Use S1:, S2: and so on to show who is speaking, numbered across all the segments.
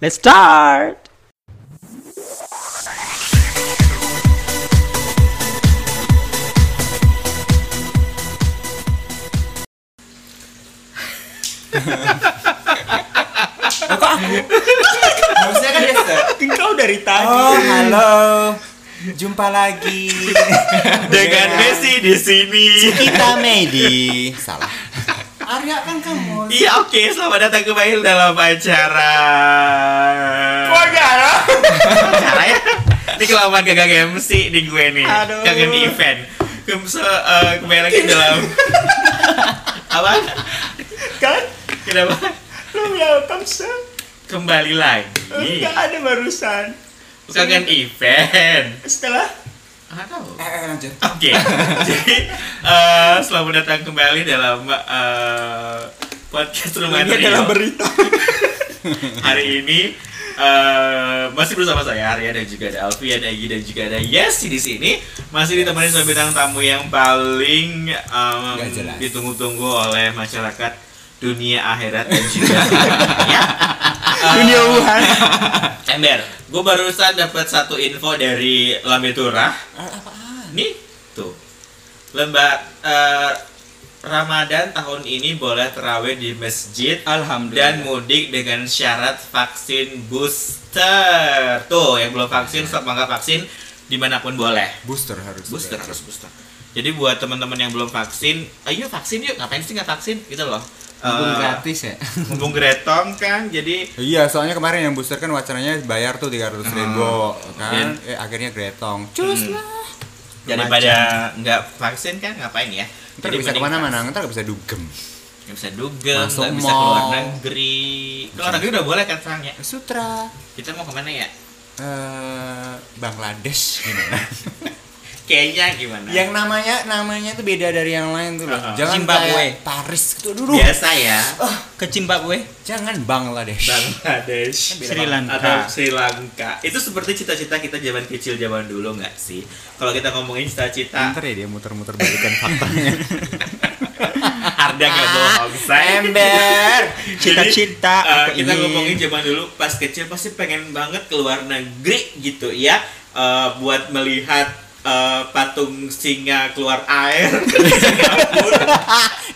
S1: Let's start.
S2: Harusnya kan biasa.
S1: Engkau dari
S2: Oh,
S1: tadi
S2: halo. Jumpa lagi
S1: dengan Messi di sini.
S2: kita Medi. Salah. Arya kan
S3: Eh,
S2: kamu.
S1: Iya oke, selamat datang kembali dalam acara.
S2: Gara.
S1: Acara ya? Ini kelamaan gagal MC di gue nih,
S2: Aduh.
S1: gagal di event. Kem- se- eh, kembali lagi dalam apa?
S4: kan
S1: Kenapa?
S4: lu welcome sir
S1: Kembali lagi.
S4: enggak ada barusan
S1: Gagal event.
S4: setelah
S1: Aduh.
S2: Eh, eh, lanjut.
S1: Oke, jadi eh, selamat datang kembali dalam eh, podcast rumah
S4: ini
S1: Trio.
S4: adalah berita
S1: Hari ini eh, masih bersama saya Arya dan juga ada Alfian, Egi dan juga ada Yesi di sini. Masih ditemani sama bintang tamu yang paling em,
S2: Nggak jelas.
S1: ditunggu-tunggu oleh masyarakat dunia akhirat dan juga ya,
S4: dunia Wuhan
S1: Ember, gue barusan dapat satu info dari Lambetura. Nih, tuh. Lembah eh, Ramadan tahun ini boleh terawih di masjid dan
S2: Alhamdulillah.
S1: mudik dengan syarat vaksin booster. Tuh, yang belum vaksin, tetap mangga vaksin dimanapun boleh.
S2: booster harus.
S1: Booster harus booster. Jadi buat teman-teman yang belum vaksin, ayo vaksin yuk. Ngapain sih nggak vaksin? Gitu loh. Eh,
S2: Mumpung gratis ya.
S1: Mumpung gretong kan, jadi
S3: Iya, soalnya kemarin yang booster kan wacananya bayar tuh 300 ribu
S1: Dan-
S3: kan, eh, akhirnya gretong.
S1: daripada nggak vaksin kan ngapain ya
S3: Ntar
S1: Jadi
S3: bisa
S1: mending
S3: kemana-mana, ntar bisa dugem.
S1: nggak bisa dugem
S3: Masuk
S1: nggak bisa
S3: mall.
S1: keluar negeri keluar negeri udah boleh kan sekarang ya
S3: Sutra,
S1: kita mau kemana ya
S3: eh Bangladesh gimana?
S1: kayaknya gimana
S3: yang namanya namanya tuh beda dari yang lain tuh loh.
S1: Uh-uh.
S3: Jangan
S2: Zimbabwe.
S3: kayak Paris gitu dulu.
S1: biasa ya
S2: Ke Zimbabwe.
S3: Jangan Bangladesh.
S1: Bangladesh
S4: Sri Lanka.
S1: atau Sri Lanka itu seperti cita-cita kita zaman kecil zaman dulu nggak sih kalau kita ngomongin cita-cita
S3: Ntar ya dia muter-muter balikan faktanya.
S1: harga nggak bohong say.
S3: Ember.
S4: Ah, cita-cita
S1: Eh,
S4: aku
S1: kita
S4: ingin.
S1: ngomongin zaman dulu pas kecil pasti pengen banget keluar negeri gitu ya Eh, buat melihat eh, patung singa keluar air di Singapura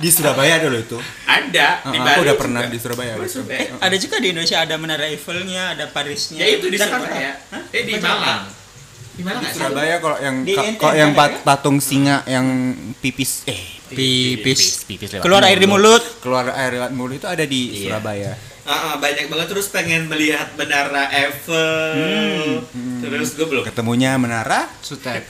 S3: di Surabaya dulu itu.
S1: ada
S3: Uh-uh,
S1: di Bali
S3: aku udah pernah
S1: juga.
S3: di Surabaya.
S1: Di Surabaya.
S4: eh ada juga di Indonesia ada menara Eiffelnya ada Parisnya
S1: ya itu di
S4: Dan-
S1: Surabaya Hah? eh di Malang di Malang
S3: Di
S1: nggak sih?
S3: Surabaya kalau yang
S4: Di ya?
S3: ka-
S4: NTT
S3: kalau yang
S4: ada
S3: pat- patung singa yang pipis eh
S1: Pipis.
S3: pipis pipis lewat
S4: keluar air di mulut
S3: keluar air lewat mulut itu ada di
S1: Iya.
S3: Surabaya.
S1: Ah, ah, banyak banget terus pengen melihat menara Eiffel terus gue belum
S3: Ketemunya menara sutet.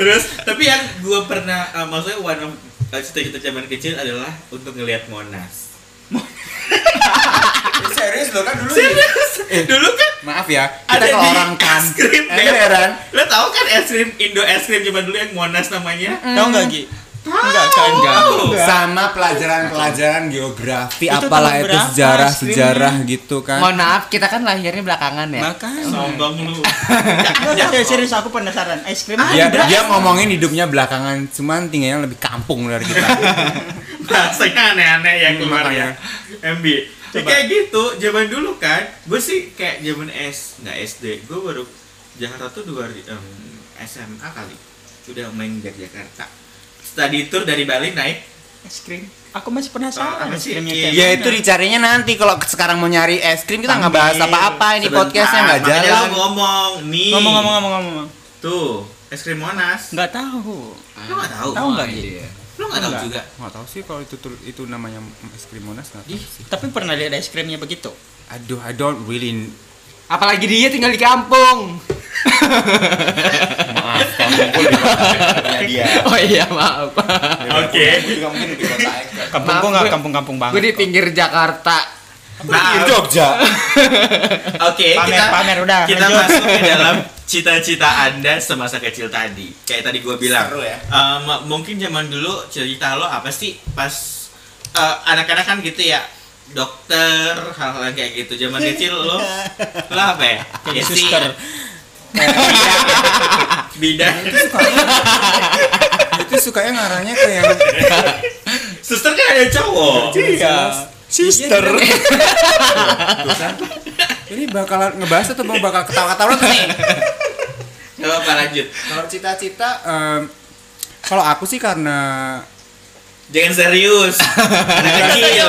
S1: terus tapi yang gue pernah eh, maksudnya one of eh, cita-cita zaman kecil adalah untuk ngelihat Monas
S3: Serius lo kan dulu.
S1: Serius? dulu kan
S3: Maaf ya, kita
S1: ada
S3: kalau
S1: di
S3: orang kan
S1: es krim
S3: eh, beneran.
S1: Lo tau kan es krim Indo es krim zaman dulu yang Monas namanya?
S4: tau nggak Gi
S1: Enggak
S4: kan, enggak.
S3: Sama pelajaran-pelajaran geografi
S4: Itu tahun
S3: apalah itu
S4: berapa
S3: sejarah-sejarah gitu kan.
S5: Mohon maaf, kita kan lahirnya belakangan ya.
S4: makanya
S1: Sombong lu.
S4: Nggak, ya, serius aku penasaran es krim
S1: Ah,
S3: Dia,
S4: ada.
S3: dia ngomongin hidupnya belakangan, cuman tinggalnya lebih kampung dari
S1: Iya,
S3: kita.
S1: Rasanya aneh-aneh ya keluar
S3: makanya.
S1: ya. MB. Ya, kayak gitu zaman dulu kan. Gue sih kayak zaman S nggak SD. Gue baru Jakarta tuh dua ri- em, SMA kali. Udah main dari Jakarta. Study tour dari Bali naik.
S4: es krim aku masih
S1: Ah,
S4: penasaran
S1: apa
S4: es
S1: sih?
S4: krimnya
S1: Iya,
S4: kayak
S3: ya
S4: mana.
S3: itu dicarinya nanti kalau sekarang mau nyari es krim kita nggak bahas
S4: Sambil.
S3: apa-apa ini
S1: Sebentar,
S3: podcastnya nggak
S1: makanya
S3: jalan.
S1: lo ngomong nih.
S4: ngomong ngomong ngomong ngomong
S1: Tuh, es krim Monas.
S4: nggak tahu
S1: Lo nggak tahu.
S4: tahu nggak Gi
S1: Lo nggak tahu
S4: Nggak.
S1: juga.
S3: Nggak tahu sih kalau itu tul- itu namanya es krim Monas nggak tahu.
S1: Ih,
S4: tapi pernah lihat es krimnya begitu
S3: Aduh, I don't really
S5: Apalagi dia tinggal di kampung.
S3: dia.
S5: Oh iya, maaf.
S1: Oke.
S3: juga mungkin di kota Eko.
S4: kampungku
S5: Maaf,
S4: nggak
S5: gue-
S4: kampung-kampung
S5: Gue di
S4: banget kok.
S5: pinggir Jakarta.
S1: Nah, oke,
S3: Jogja.
S4: pamer
S1: kita
S4: pamer udah
S1: kita
S4: lanjut.
S1: masuk ke dalam cita-cita Anda semasa kecil tadi. Kayak tadi gue bilang.
S2: Seru ya.
S1: Em, mungkin zaman dulu cerita lo apa sih pas eh, anak-anak kan gitu ya dokter hal-hal yang kayak gitu zaman kecil lo lo apa ya
S4: jadi
S1: Isi,
S4: suster
S1: bidan
S3: Itu sukanya ngarahnya ke yang
S1: suster kan ada cowok
S4: iya
S3: Sister.
S1: Tuh kan.
S3: iya. Ini bakal ngebahas atau mau bakal ketawa-ketawa terus nih?
S1: Coba Pak, lanjut.
S3: Kalau cita-cita em, kalau aku sih karena
S1: Jangan serius. Anak
S4: Iya,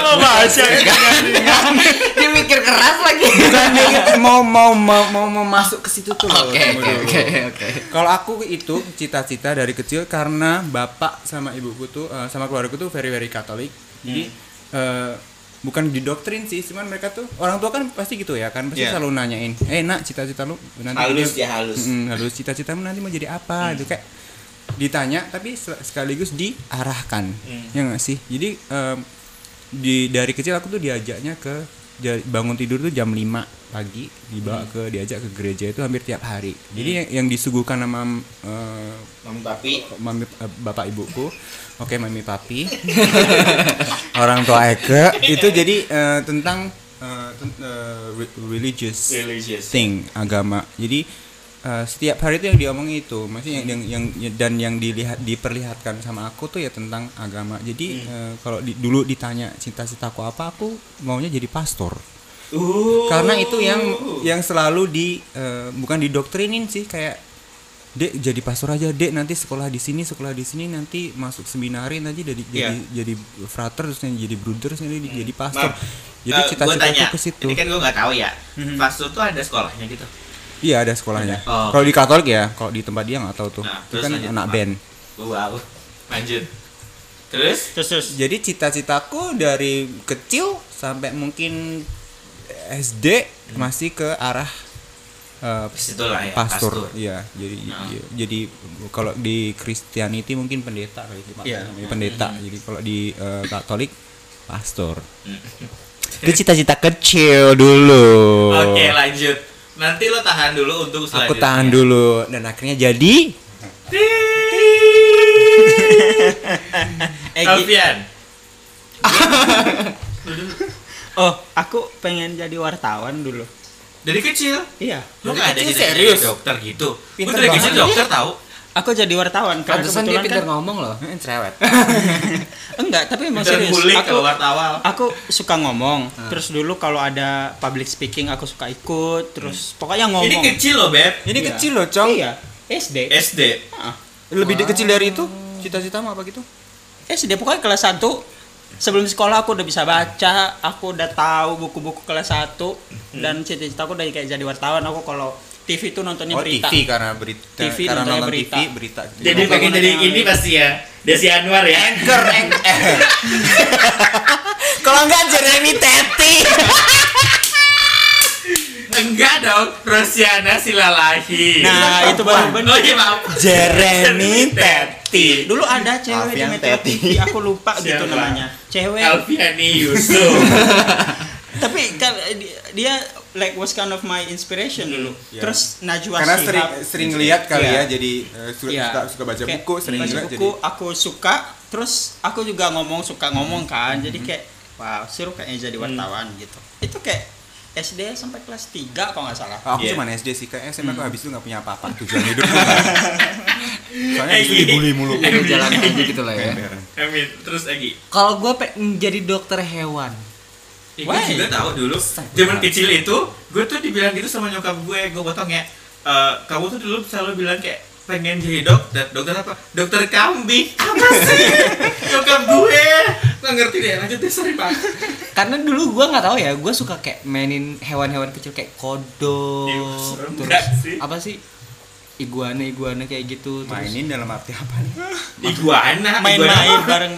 S1: kecil.
S5: Dia mikir keras lagi.
S3: bukan dia mau mau mau mau, mau masuk ke situ tuh loh,
S5: Oke,
S3: tunggu dulu.
S5: oke, oke, oke.
S3: Kalau aku itu cita-cita dari kecil karena bapak sama ibuku tuh eh, sama keluargaku tuh very very Katolik. Jadi eh, bukan didoktrin sih, cuman mereka tuh orang tua kan pasti gitu ya kan pasti
S6: Iya.
S3: selalu nanyain, eh nak cita-cita lu nanti
S1: Halus
S3: gede-
S1: ya, halus. Hmm.
S3: Mm, halus cita-citamu nanti mau jadi apa gitu kayak ditanya tapi se- sekaligus diarahkan
S1: Hmm.
S3: ya nggak sih jadi em, di dari kecil aku tuh diajaknya ke ja- bangun tidur tuh jam 5 pagi dibawa
S1: Hmm.
S3: ke diajak ke gereja itu hampir tiap hari jadi yang, yang disuguhkan sama eh,
S1: Mami papi.
S3: mami eh, bapak ibuku oke mami papi orang tua Eke itu jadi eh, tentang eh, ten- eh, re- religious
S1: Religious.
S3: thing agama jadi eh, setiap hari itu yang diomongin itu maksudnya yang, yang yang- dan yang dilihat diperlihatkan sama aku tuh ya tentang agama jadi eh, kalau di- dulu ditanya cita-citaku apa aku maunya jadi pastor
S1: Uh.
S3: karena itu yang yang selalu di eh, bukan didoktrinin sih kayak dek jadi pastor aja dek nanti sekolah di sini sekolah di sini nanti masuk seminari nanti jadi
S1: Iya.
S3: jadi jadi frater terus nanti jadi bruder terus nanti jadi pastor
S1: Hmm. Maaf.
S3: jadi
S1: Eh, gua
S3: cita-citaku
S1: tanya,
S3: ke situ
S1: Ini kan gue nggak tahu ya.
S3: Mhm.
S1: Pastor tuh ada sekolahnya gitu.
S3: iya ada sekolahnya
S1: Ada. Oh.
S3: kalau di Katolik ya kalau di tempat dia nggak tahu tuh
S1: Nah,
S3: itu
S1: terus
S3: kan
S1: lanjut,
S3: anak
S1: Pak.
S3: band
S1: Wow. Lanjut. Terus?
S4: Terus terus.
S3: jadi cita-citaku dari kecil sampai mungkin SD masih ke arah eh,
S1: Situlah ya.
S3: pastor,
S1: Pastor.
S3: iya jadi
S1: Nah.
S3: iya. jadi kalau di Christianity mungkin pendeta kali itu Pak.
S4: Iya.
S3: Namanya pendeta jadi kalau di eh, Katolik pastor
S1: Hmm.
S4: Mm-hmm.
S3: itu cita-cita kecil dulu
S1: Oke lanjut. Nanti lo tahan dulu untuk
S3: aku
S1: selanjutnya.
S3: tahan
S4: Iya.
S3: dulu dan akhirnya jadi
S4: Eh, Gi-
S1: Alfian.
S4: oh, aku pengen jadi wartawan dulu.
S1: Dari kecil.
S4: Iya.
S1: Lo
S3: Dari
S1: nggak ada
S3: kecil
S1: jadi
S3: serius?
S1: dokter gitu. Gue
S3: Pinter
S1: dari
S3: banget
S1: kecil
S3: dia.
S1: dokter tahu.
S4: Aku jadi wartawan karena
S5: Pantesan dia
S4: kebetulan
S5: pintar
S4: kan
S5: ngomong loh. Cerewet.
S4: enggak, tapi emang
S1: Dan
S4: serius.
S1: kulik
S4: Aku
S1: kalau wartawan.
S4: aku suka ngomong.
S3: Ah.
S4: Terus dulu kalau ada public speaking aku suka ikut, terus pokoknya
S1: Ini
S4: ngomong.
S1: kecil loh beb.
S3: Hmm. ini Eh.
S4: Iya.
S3: kecil loh cong
S4: Iya, SD.
S1: SD.
S4: Ah,
S3: lebih di- kecil dari itu
S4: Oh.
S3: cita-cita apa gitu
S4: SD pokoknya kelas 1 sebelum sekolah aku udah bisa baca, aku udah tahu buku-buku kelas 1
S3: Hmm.
S4: dan cita-cita aku dari kayak jadi wartawan. Aku kalau TV tuh nontonnya
S3: oh
S4: berita.
S3: TV karena berita
S4: TV,
S3: karena
S4: nontonnya
S3: nonton
S4: berita.
S3: TV berita
S5: gitu.
S1: Jadi
S4: Ngomong
S1: pengen jadi
S4: mengenai-
S1: ini pasti ya. Desi Anwar ya.
S3: anchor kalau enggak Jeremy Teti
S1: Enggak dong. Rosiana Silalahi.
S4: Nah, itu baru bener.
S1: Oh iya maaf.
S3: Jeremy
S1: Teti.
S4: Dulu ada cewek di
S6: Alfian
S4: Metro
S6: Teti.
S4: TV, aku lupa gitu
S1: Siapa?
S4: namanya. Cewek.
S1: Alfiani Yusuf.
S4: Tapi kan eh, di- dia like was kind of my inspiration dulu.
S3: Iya.
S4: Terus Najwa
S3: karena
S4: Shihab.
S3: sering sering lihat kali
S4: Iya.
S3: ya jadi eh, su-
S4: Iya.
S3: suka suka baca
S4: Kayak
S3: buku sering
S4: baca
S3: lihat
S4: buku aku suka terus aku juga ngomong suka ngomong kan jadi kayak wow seru kayaknya jadi wartawan gitu itu kayak SD sampai kelas 3 kalau nggak salah
S3: jadi Ah, aku
S1: Iya. Hmm.
S3: cuma SD sih ke SMA aku habis itu nggak punya apa-apa tujuan hidup gua nggak ada. soalnya habis itu
S1: Egy.
S3: dibully mulu
S5: Udah jalan aja gitu lah ya.
S3: Ember.
S1: Amin. Terus lagi.
S5: Kalau gue pengen jadi dokter hewan.
S1: Ya, gue
S4: Why?
S1: juga tahu dulu. Zaman kecil itu, gue tuh dibilang gitu sama nyokap gue, gue potong ya. Eh, kamu tuh dulu selalu bilang kayak pengen jadi dokter, dokter apa? Dokter kambing. Apa sih? nyokap gue. Nggak ngerti deh, lanjut deh, sorry pak.
S5: Karena dulu gue nggak tahu ya, gue suka kayak mainin hewan-hewan kecil kayak kodok,
S1: Ih, Iya, serem
S5: terus
S1: nggak sih?
S5: apa sih iguana-iguana kayak gitu. Terus
S3: mainin dalam arti apa nih
S1: Iguana.
S4: main-main
S1: iguana.
S4: bareng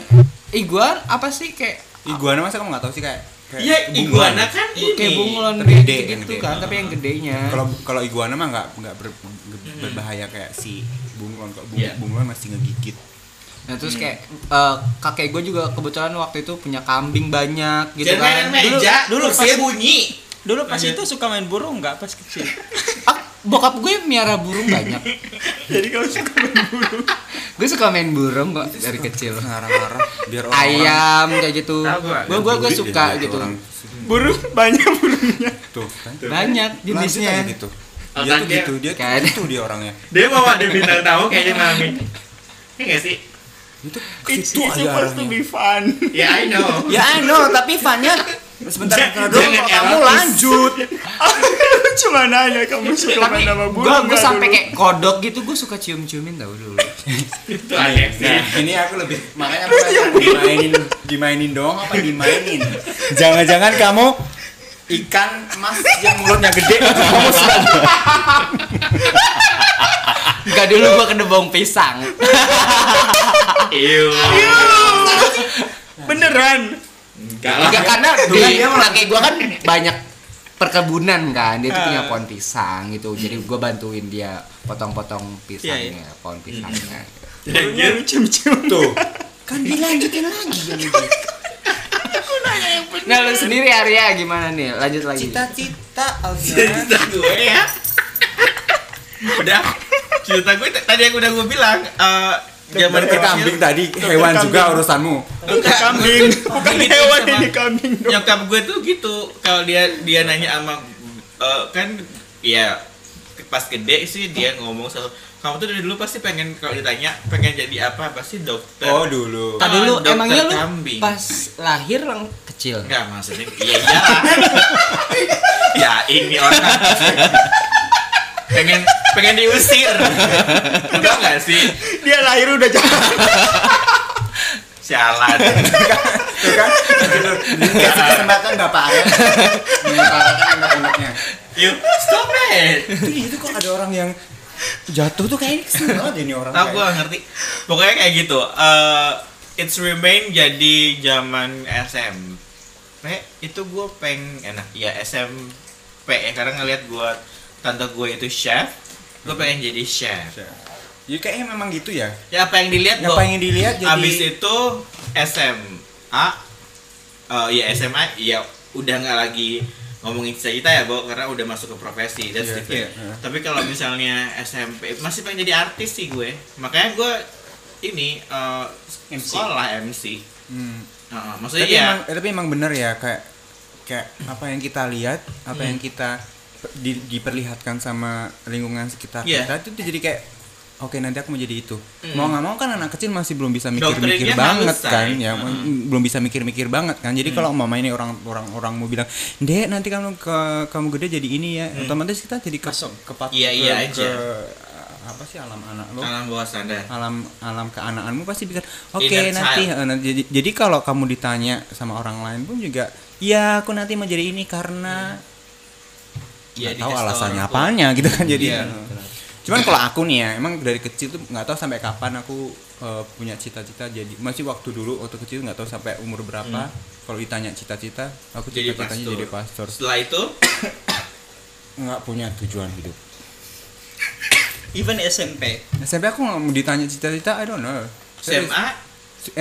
S5: iguan apa sih kayak
S3: iguana masa kamu nggak tahu sih kayak kayak
S1: Iya,
S3: bunglon.
S1: iguana kan ini.
S5: kayak bunglon
S3: Tapi gede,
S5: gitu,
S3: yang gede.
S5: kan, tapi yang gedenya.
S3: kalau kalau iguana mah nggak nggak ber- nggak berbahaya kayak si bunglon kalau bung-
S1: Iya.
S3: bunglon masih ngegigit
S5: Nah terus kayak eh, kakek gue juga kebetulan waktu itu punya kambing banyak gitu
S1: Jangan main
S5: kan. Dulu-
S1: meja,
S4: dulu
S1: dulu,
S4: pas-
S1: saya bunyi.
S4: dulu pas
S1: Lanjut.
S4: itu suka main burung nggak pas kecil
S5: ah, bokap gue miara burung banyak.
S4: jadi kamu suka main burung
S5: gue suka main burung kok dari kecil.
S3: ngarang-ngarang biar orang
S5: Ayam kayak gitu.
S1: Tahu gak?
S5: Gue gue gue suka gitu.
S4: burung banyak burungnya
S3: tuh kan
S5: Banyak
S3: jenisnya
S5: jenisnya.
S3: gitu
S1: Oh,
S3: dia tuh
S1: tanya.
S5: Kan.
S3: gitu dia tuh
S5: Kayak-
S3: gitu dia orangnya
S1: Dia mau ada bintang tamu kayaknya mami. Iya nggak sih?
S7: Itu
S4: It's,
S7: itu
S4: it's
S7: aja
S4: supposed to
S7: arahnya.
S4: be fun.
S1: Ya I know.
S3: Ya I know, tapi fannya sebentar
S1: Jangan-
S3: dulu
S1: jangan
S3: kalau kamu
S1: erotis.
S3: lanjut.
S4: Cuma nanya kamu suka
S8: tapi
S4: main sama
S8: gue
S4: burung
S8: gue
S4: nggak
S8: sampai
S4: dulu?
S8: kayak kodok gitu gue suka cium ciumin tau dulu
S1: Itu aneh sih.
S3: Nah, ini aku lebih makanya aku tanya, dimainin dimainin dong apa dimainin? Jangan-jangan kamu ikan emas
S5: ya.
S3: yang mulutnya gede itu kamu suka.
S8: Enggak dulu gue kena bawang pisang
S1: Ew.
S4: Beneran.
S1: Enggak lah. Iya.
S5: Iya.
S8: Enggak karena di
S3: Bukan, dia malah-
S8: kakek gue kan banyak perkebunan kan dia tuh punya
S5: Eh.
S8: pohon pisang gitu jadi gue bantuin dia potong-potong pisangnya
S5: Iya,
S8: pohon
S5: Hmm.
S8: pisangnya
S4: Burungnya lu cium-cium.
S3: Tuh. Kan dilanjutin lagi ini.
S8: nah lu sendiri Arya gimana nih lanjut lagi
S3: Cita-cita Alfiana.
S1: cerita gue ya udah cerita gue t- tadi yang udah gue bilang eh, zaman
S3: Dokter
S1: kecil
S3: kambing tadi hewan
S4: kambing.
S3: juga urusanmu.
S4: Bukan kambing, bukan
S1: Ini
S4: hewan
S1: sama-
S4: ini kambing dong.
S1: nyokap gue tuh gitu kalau dia dia nanya sama eh, kan ya pas gede sih dia ngomong selalu kamu tuh dari dulu pasti pengen kalau ditanya pengen jadi apa pasti dokter
S3: Oh dulu.
S8: Tadi lu
S1: Dokter
S8: emangnya lu
S1: kambing.
S8: pas lahir lang kecil
S1: Enggak maksudnya iya iya ya ini orang pengen pengen diusir enggak enggak sih
S4: Dia lahir udah jalan.
S1: sialan
S3: Tuh kan? Dulu. Kasih kesempatan Bapak Arya mengutarakan anak-anaknya.
S1: you stop it
S3: Tuh, itu kok ada orang yang jatuh tuh kayaknya kesel banget ini orang.
S1: Tahu gue
S3: kayak.
S1: ngerti pokoknya kayak gitu Eh, it's remain jadi zaman SMP itu gue pengen enak ya SMP ya karena ngeliat gue tante gue itu chef gue pengen jadi chef
S3: Ya kayaknya memang gitu ya.
S1: ya apa yang dilihat
S3: Yang
S1: gua-
S3: pengen dilihat jadi
S1: Abis itu SMA, eh ya SMA, ya udah nggak lagi ngomongin cita-cita ya, Bo, karena udah masuk ke profesi,
S3: Iya,
S1: that's different.
S3: iya.
S1: Tapi kalau misalnya SMP, masih pengen jadi artis sih gue. Makanya gue ini eh, sekolah MC.
S3: Hmm.
S1: Heeh, maksudnya
S3: Tapi
S1: ya,
S3: emang tapi emang bener ya kayak kayak apa yang kita lihat, apa yang
S1: Hmm.
S3: kita pe- di- diperlihatkan sama lingkungan sekitar
S1: Iya. Hmm.
S3: kita itu tuh jadi kayak Oke nanti aku mau jadi itu. Mau nggak mau kan anak kecil masih belum bisa mikir-mikir
S1: Doktrinnya
S3: banget
S1: halus,
S3: kan,
S1: Shay.
S3: ya
S1: Mm.
S3: belum bisa mikir-mikir banget kan.
S1: Hmm.
S3: Jadi kalau mama ini orang orang orang mau bilang, dek nanti kamu ke- kamu gede jadi ini ya, otomatis kita jadi ke kepat-
S1: Hmm. Iya, iya
S3: ke-
S1: aja.
S3: ke- apa sih alam anak lo?
S1: alam bawah sadar.
S3: alam alam keanaanmu pasti bisa oke
S1: Inner
S3: nanti
S1: child.
S3: eh, nanti- jadi, jadi kalau kamu ditanya sama orang lain pun juga ya aku nanti mau jadi ini karena
S1: Iya,
S3: nggak tahu
S1: dikasih
S3: alasannya
S1: orang tua.
S3: apanya gitu kan jadi
S1: Iya.
S3: eh, cuman kalau aku nih ya emang dari kecil tuh nggak tahu sampai kapan aku eh, punya cita-cita jadi masih waktu dulu waktu kecil nggak tahu sampai umur berapa kalau ditanya cita-cita aku
S1: Hmm. Jadi
S3: cita-citanya
S1: pastor.
S3: jadi pastor
S1: Setelah itu,
S3: nggak punya tujuan hidup
S4: Even SMP.
S3: SMP aku nggak mau ditanya cita-cita I don't know Serius.
S1: SMA,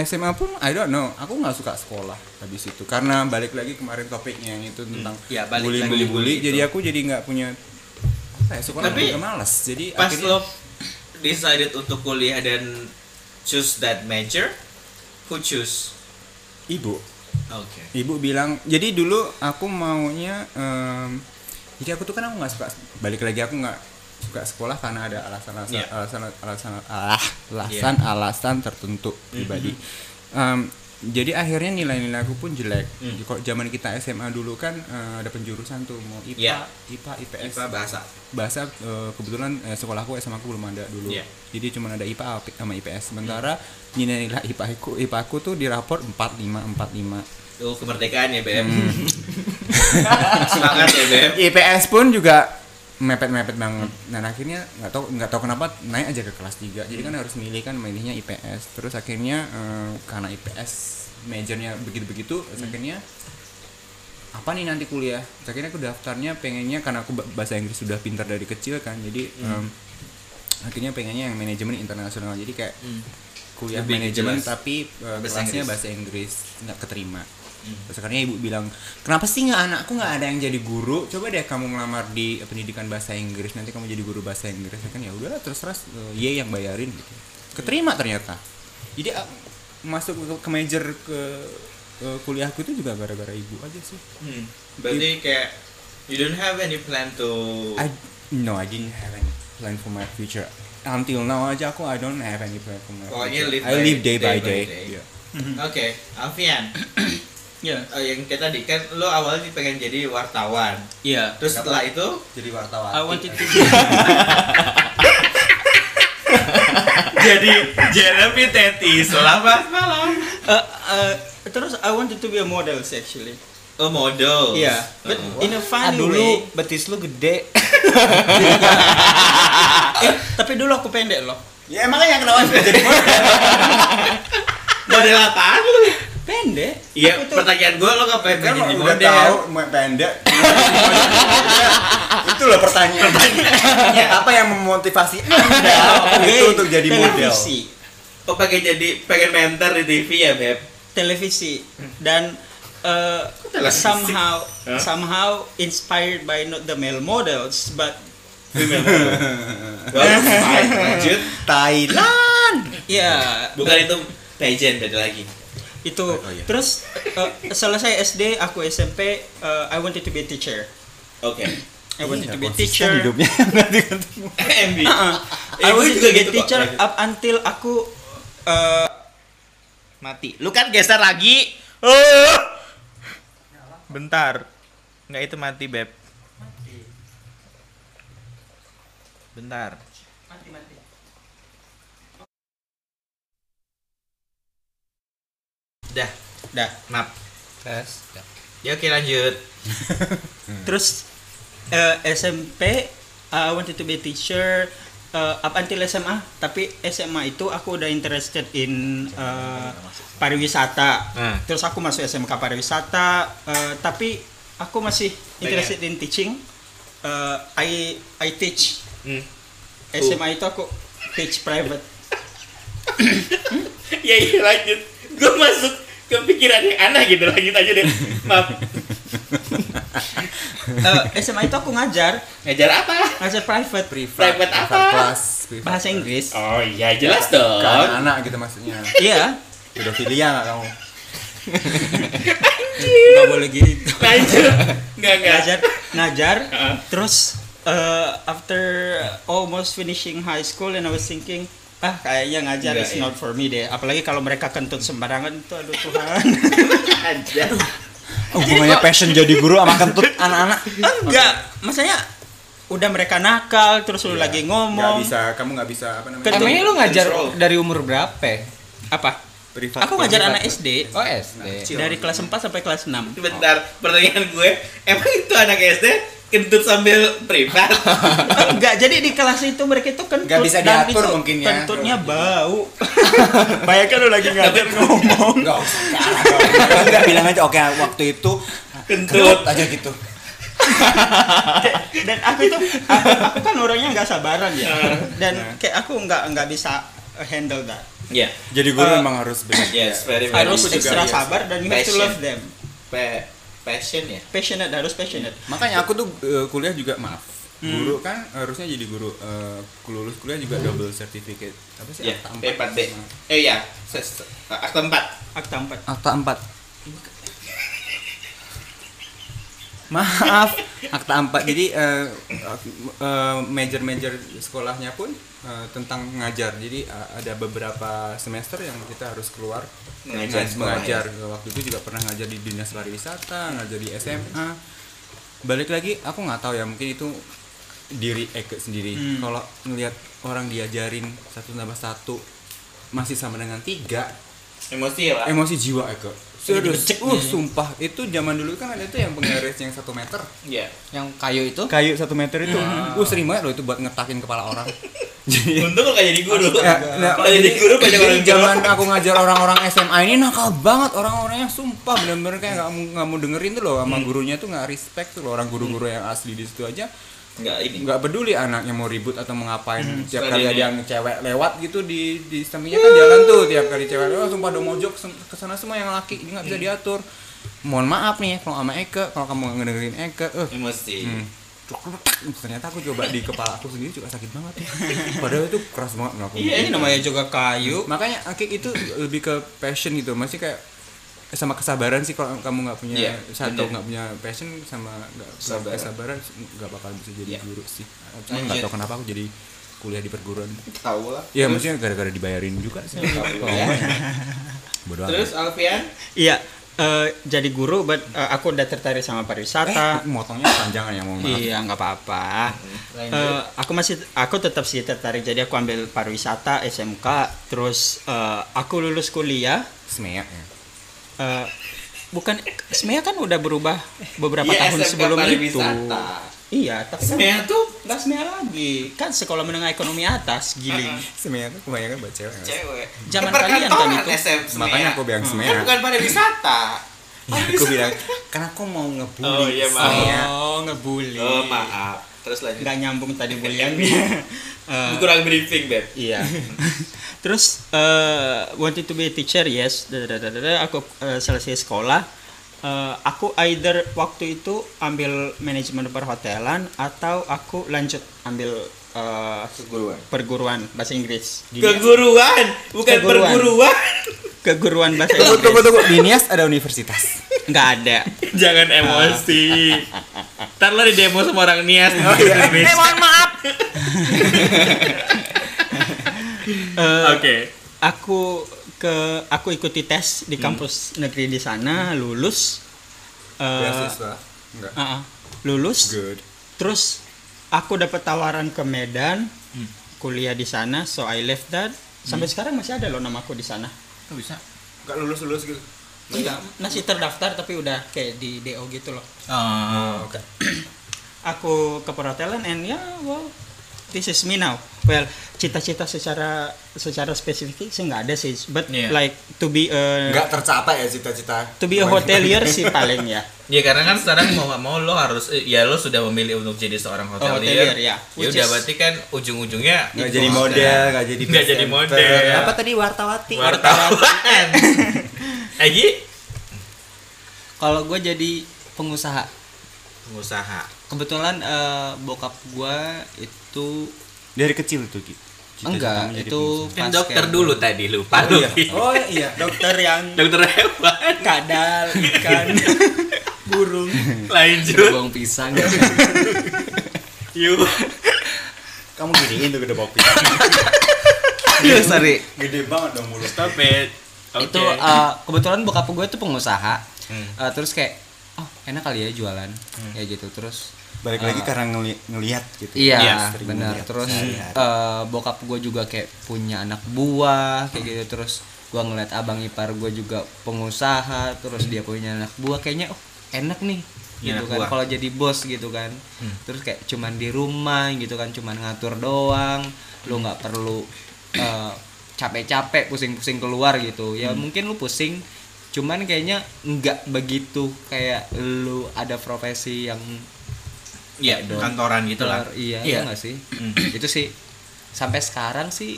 S3: SMA pun I don't know aku nggak suka sekolah habis itu karena balik lagi kemarin topiknya yang itu tentang
S1: ya, balik
S3: bully
S1: lagi
S3: bully bully
S1: gitu.
S3: jadi aku jadi nggak punya apa ya, sekolah
S1: Tapi,
S3: juga malas jadi
S1: pas
S3: akhirnya
S1: lo decided untuk kuliah dan choose that major, who choose?
S3: ibu
S1: Oke.
S3: ibu bilang jadi dulu aku maunya em, jadi aku tuh kan aku nggak suka balik lagi aku nggak suka sekolah karena ada alasan-alasan
S1: Iya.
S3: alasan-alasan ah, alasan-alasan tertentu pribadi Em, jadi akhirnya nilai-nilai aku pun jelek
S1: Mm-hmm. Mm.
S3: kalau zaman kita SMA dulu kan eh, ada penjurusan tuh mau IPA
S1: Iya.
S3: IPA IPS
S1: IPA bahasa.
S3: bahasa eh, kebetulan eh, sekolahku SMA aku belum ada dulu
S1: Iya. Mm.
S3: jadi cuma ada IPA AP sama IPS sementara nilai-nilai IPA aku IPA aku tuh di rapor 45 45
S1: Tuh kemerdekaan ya BM.
S9: Hmm.
S1: Semangat ya BM.
S3: IPS pun juga mepet-mepet banget. Dan akhirnya nggak tahu nggak tahu kenapa naik aja ke kelas 3. Jadi kan harus milih kan milihnya IPS. Terus akhirnya eh, karena IPS majornya begitu-begitu,
S1: Hmm.
S3: terus akhirnya apa nih nanti kuliah? Terus akhirnya aku daftarnya pengennya karena aku ba- bahasa Inggris sudah pintar dari kecil kan. Jadi
S1: Hmm.
S3: em, akhirnya pengennya yang manajemen internasional. Jadi kayak kuliah
S1: Hmm. Lebih
S3: manajemen
S1: jelas.
S3: tapi eh, kelasnya
S1: Bahasa Inggris.
S3: bahasa Inggris nggak keterima terus akhirnya ibu bilang kenapa sih nggak anakku nggak ada yang jadi guru coba deh kamu ngelamar di pendidikan bahasa Inggris nanti kamu jadi guru bahasa Inggris Saya kan ya udahlah terus terus ye yang bayarin gitu keterima ternyata jadi eh, masuk ke- ke major ke, ke kuliahku itu juga gara-gara ibu aja sih
S1: Hmm. Berarti kayak you don't have any plan to
S3: I no I didn't have any plan for my future until now aja aku I don't have any plan for my
S1: Pokoknya
S3: future.
S1: live
S3: I
S1: by-
S3: live day,
S1: day
S3: by
S1: by
S3: day,
S1: day.
S3: Iya.
S1: Hmm. Oke, Alfian,
S4: Iya.
S1: eh, yang kayak tadi kan lo awalnya pengen jadi wartawan,
S4: Iya.
S1: terus setelah itu
S9: jadi wartawan
S4: I want it to
S1: jadi Jeremy Teti. Selamat malam.
S4: Uh, uh, terus I wanted to be a model actually.
S1: Oh model.
S4: Iya. But in a funny
S9: Ah,
S4: way.
S9: dulu betis lu gede
S4: Eh, tapi dulu aku pendek loh.
S9: ya emangnya yang kenalan sudah jadi model
S1: model apaan lu?
S4: Pendek.
S1: Iya.
S4: Aku tuh-
S1: Pertanyaan gue lo ngapain
S3: Kan
S1: pengen jadi
S3: udah
S1: model?
S3: tahu mau pendek. itu loh pertanyaan. Ya, apa yang memotivasi Anda itu untuk jadi model?
S4: televisi,
S1: Oh pengen jadi pengen mentor di TV ya beb?
S4: televisi dan uh,
S1: televisi?
S4: somehow
S1: Hah?
S4: somehow inspired by not the male models but
S1: Female model. Bagus, baik, lanjut.
S9: Thailand
S4: yeah
S1: Bukan itu pageant beda lagi.
S4: itu terus uh, selesai SD aku SMP uh, I wanted to be a teacher
S1: Oke.
S4: I wanted to be a
S3: Iya, Konsisten
S4: teacher
S3: hidupnya.
S1: MB.
S4: I
S1: Eh, gue
S4: wanted
S1: juga
S4: to be
S1: gitu
S4: a
S1: kok.
S4: teacher
S1: Lanjut.
S4: up until aku uh,
S1: Mati. Lu kan geser lagi. Oh. Bentar. Nggak itu mati, Beb. Bentar. Dah, dah, maaf. Ya oke lanjut.
S4: Terus eh, SMP I wanted to be a teacher eh, up until SMA, tapi SMA itu aku udah interested in eh, pariwisata.
S1: Nah.
S4: Terus aku masuk SMK pariwisata, eh, tapi aku masih interested in teaching. Eh, I I teach.
S1: Hmm.
S4: SMA itu aku teach private.
S1: ya iya lanjut. Gue masuk ke pikiran yang aneh gitu lanjut aja deh. Maaf.
S4: Eh, SMA itu aku ngajar,
S1: Ngajar apa?
S4: ngajar private.
S1: Private apa?
S3: Kelas
S4: Bahasa Inggris.
S1: Oh iya jelas dong.
S3: anak gitu maksudnya.
S4: Iya.
S3: Pedofilia nggak kamu?
S4: Gak boleh gitu.
S1: lanjut. Enggak enggak.
S4: ngajar ngajar
S1: Uh-uh.
S4: terus uh, after almost finishing high school and I was thinking ah kayaknya ngajar
S1: Nggak,
S4: is
S1: ya.
S4: not for me deh apalagi kalau mereka kentut sembarangan itu aduh Tuhan
S1: Aduh.
S3: Oh, Hubungannya passion jadi guru sama kentut anak-anak.
S4: enggak maksudnya udah mereka nakal terus
S1: Iya.
S4: lu lagi
S3: Nggak
S4: ngomong
S3: bisa, kamu nggak bisa apa namanya?
S4: Ken-
S5: Emangnya lu ngajar
S1: Control.
S5: dari umur berapa?
S4: apa
S3: Privat.
S4: aku ngajar anak SD
S1: Nah,
S5: Oh SD.
S4: dari kelas 4 sampai kelas 6
S1: Bentar, pertanyaan gue, emang itu anak SD kentut sambil privat?
S4: enggak jadi di kelas itu mereka itu kentut
S3: Nggak bisa
S4: dan
S3: diatur
S4: itu
S3: mungkin ya.
S4: kentutnya bau bayangkan lu lagi ngajar ngomong
S3: Nggak usah. Kamu nggak Oh. bilang aja oke waktu itu
S1: kentut.
S3: aja gitu.
S4: dan aku tuh aku, aku kan orangnya nggak sabaran ya
S1: Nah.
S4: dan
S3: Nah.
S4: kayak aku nggak nggak bisa handle that
S1: Ya,
S3: Jadi guru
S4: Eh,
S3: memang harus benar.
S1: yes, very very
S4: harus
S1: good.
S4: ekstra
S3: biasa.
S4: sabar dan you have to
S1: iya Passion.
S4: love them
S1: Pa- passion ya.
S4: passionate harus passionate
S3: Makanya aku tuh eh, kuliah juga maaf. Guru kan harusnya jadi guru. Eh, lulus kuliah juga double certificate. Apa sih?
S1: Ya,
S3: Akta
S1: P4 B.
S3: sama-
S1: Eh ya, ses- akta 4.
S4: akta empat
S5: Akta 4. Maaf,
S3: Akta empat. Jadi eh, eh, major-major sekolahnya pun eh, tentang ngajar. Jadi eh, ada beberapa semester yang kita harus keluar
S1: Mengajar
S3: ngaj-
S1: sekolah, ya?
S3: mengajar. Waktu itu juga pernah ngajar di dinas pariwisata, ngajar di SMA. Balik lagi, aku nggak tahu ya mungkin itu diri Eke sendiri.
S1: Hmm.
S3: Kalau ngelihat orang diajarin satu tambah satu masih sama dengan tiga,
S1: Emosi ya, Pak?
S3: emosi jiwa Eke. Serius, uh, sumpah itu zaman dulu kan ada tuh yang penggaris yang satu meter Ah.
S1: Iya.
S5: yang kayu itu
S3: kayu satu meter itu gue sering banget loh itu buat ngetakin kepala orang jadi
S1: Iya. Untung Iya. lo gak jadi guru.
S3: Ya, nah,
S1: Kalau jadi guru banyak
S3: jadi
S1: orang
S3: zaman
S1: jorok.
S3: aku ngajar orang-orang SMA ini nakal banget orang-orangnya sumpah bener-bener kayak nggak mau nggak mau dengerin tuh loh sama gurunya tuh nggak respect tuh loh orang guru-guru yang asli di situ aja
S1: Enggak ini.
S3: nggak peduli anaknya mau ribut atau mau ngapain
S4: Hmm.
S3: tiap kali
S4: ya.
S1: Sekalian
S3: ada yang cewek lewat gitu di di sampingnya kan jalan tuh tiap kali cewek lewat sumpah udah mojok sem- kesana semua yang laki ini nggak bisa
S4: Hmm.
S3: diatur mohon maaf nih ya kalau sama Eke kalau kamu nggak ngedengerin Eke eh
S4: Ya,
S1: Emosi.
S3: Hmm. Tuk-tuk-tuk. ternyata aku coba di kepala aku sendiri juga sakit banget ya padahal itu keras banget melakukan
S4: Iya, ini namanya juga kayu
S3: makanya akik itu lebih ke passion gitu masih kayak sama kesabaran sih kalau kamu nggak punya
S1: Iya,
S3: satu
S1: bener.
S3: nggak punya passion sama nggak punya
S1: Kesabaran.
S3: kesabaran nggak bakal bisa jadi
S1: Iya.
S3: guru sih cuma nggak
S1: Lanjut.
S3: tahu kenapa aku jadi kuliah di perguruan
S5: Tahu lah.
S3: ya maksudnya gara-gara dibayarin juga sih bodoh amat.
S1: Terus Alfian?
S4: Iya, eh, jadi guru, but eh, aku udah tertarik sama
S3: Eh,
S4: pariwisata.
S3: motongnya panjangan ya mau maaf
S4: iya, nggak apa-apa. Eh, aku masih, aku tetap sih tertarik. Jadi aku ambil pariwisata SMK, terus eh, aku lulus kuliah.
S3: Semeyak ya
S4: eh, bukan, SMEA kan udah berubah beberapa
S1: Iya,
S4: tahun
S1: SMK
S4: sebelum itu.
S1: pariwisata.
S4: Iya, tapi kan
S1: Sebenarnya tuh
S4: nggak SMEA lagi. Kan sekolah menengah ekonomi atas, giling.
S3: Semeyak tuh kebanyakan buat cewek Mas.
S1: cewek.
S4: Zaman
S1: Eh,
S4: kalian kan
S1: perkantoran
S4: itu.
S1: SM
S3: makanya
S1: Semeya.
S3: aku bilang
S1: Kan
S3: semeyak
S1: bukan pariwisata.
S3: Iya, aku bilang karena aku mau ngebully
S1: Oh iya maaf.
S3: Semeyak.
S4: Oh, ngebully.
S1: Oh maaf. Terus lanjut.
S4: Nggak nyambung tadi buliannya. Eh,
S1: Kurang briefing beb.
S4: Iya. Terus eh wanted to be a teacher, yes. Dadadadada, Aku eh, selesai sekolah. Eh, aku either waktu itu ambil manajemen perhotelan atau aku lanjut ambil eh,
S5: Keguruan.
S4: perguruan bahasa Inggris. Dunia-
S1: Keguruan, bukan
S4: Keguruan.
S1: perguruan.
S4: Keguruan bahasa
S3: tunggu
S4: Inggris.
S3: tunggu tunggu di Nias ada universitas
S4: Nggak ada.
S1: Jangan emosi. Ntar lo di demo sama orang nias.
S3: eh mohon maaf
S4: Eh,
S1: Oke.
S4: Aku ke aku ikuti tes di kampus negeri di sana, lulus. Eh,
S3: enggak
S4: ah, ah, lulus.
S3: good
S4: Terus aku dapat tawaran ke Medan,
S5: Hmm.
S4: kuliah di sana, so I left that. Sampai sekarang masih ada loh namaku di sana.
S1: Kok bisa?
S3: enggak lulus lulus gitu
S4: Iya, masih terdaftar tapi udah kayak di DO gitu loh.
S1: Oh, oke.
S4: Aku ke perhotelan and ya well, this is me now. Well, cita-cita secara secara spesifik sih nggak ada sih, but
S1: Iya.
S4: like to be a
S3: enggak tercapai ya cita-cita
S4: to be a hotelier sih paling ya.
S1: Ya karena kan sekarang mau nggak mau lo harus eh, ya lo sudah memilih untuk jadi seorang hotelier.
S4: hotelier, ya.
S1: Ya
S4: Which
S1: udah
S4: is-
S1: berarti kan ujung-ujungnya
S3: Nggak jadi model, nggak jadi
S1: Nggak jadi
S3: presenter.
S1: model. ya.
S3: Apa
S5: Apa tadi wartawati?
S1: wartawan. Egi
S5: Kalau gue jadi pengusaha.
S1: pengusaha.
S5: Kebetulan eh, bokap gue itu
S3: dari kecil tuh Ki
S5: enggak itu
S1: Kan
S5: pas
S1: dokter
S5: kayak-
S1: dulu tadi lupa lo. Ki.
S3: oh iya
S4: Dokter yang
S1: Dokter hewan.
S4: kadal ikan burung.
S1: Lanjut.
S5: buang pisang
S1: Yuk.
S3: kamu giniin tuh gede bokpi
S5: Iya, sorry
S3: gede banget dong mulut
S1: Stop it. Oke.
S5: itu uh, kebetulan bokap gue itu pengusaha
S1: Hmm.
S5: Uh, terus kayak oh enak kali ya jualan ya gitu terus
S3: balik lagi karena ngeli ngelihat gitu
S5: Iya,
S1: Iya,
S3: sering Iya,
S5: benar.
S3: lihat
S5: Terus
S3: sehari-hari.
S5: eh, bokap gue juga kayak punya anak buah kayak gitu. Terus gua ngeliat abang ipar gue juga pengusaha, terus dia punya anak buah kayaknya oh enak nih
S1: Iya,
S5: gitu
S1: anak
S5: kan
S1: buah. Hmm.
S5: kalau jadi bos gitu kan. Terus kayak cuman di rumah gitu kan cuman ngatur doang. Lu nggak perlu eh, capek-capek pusing-pusing keluar gitu. Ya
S1: Hmm.
S5: mungkin lu pusing cuman kayaknya nggak begitu kayak lu ada profesi yang
S1: Iya,
S5: dong.
S1: kantoran gitu lah.
S5: Keluar, Iya,
S1: Iya.
S5: iya nggak sih? itu sih sampai sekarang sih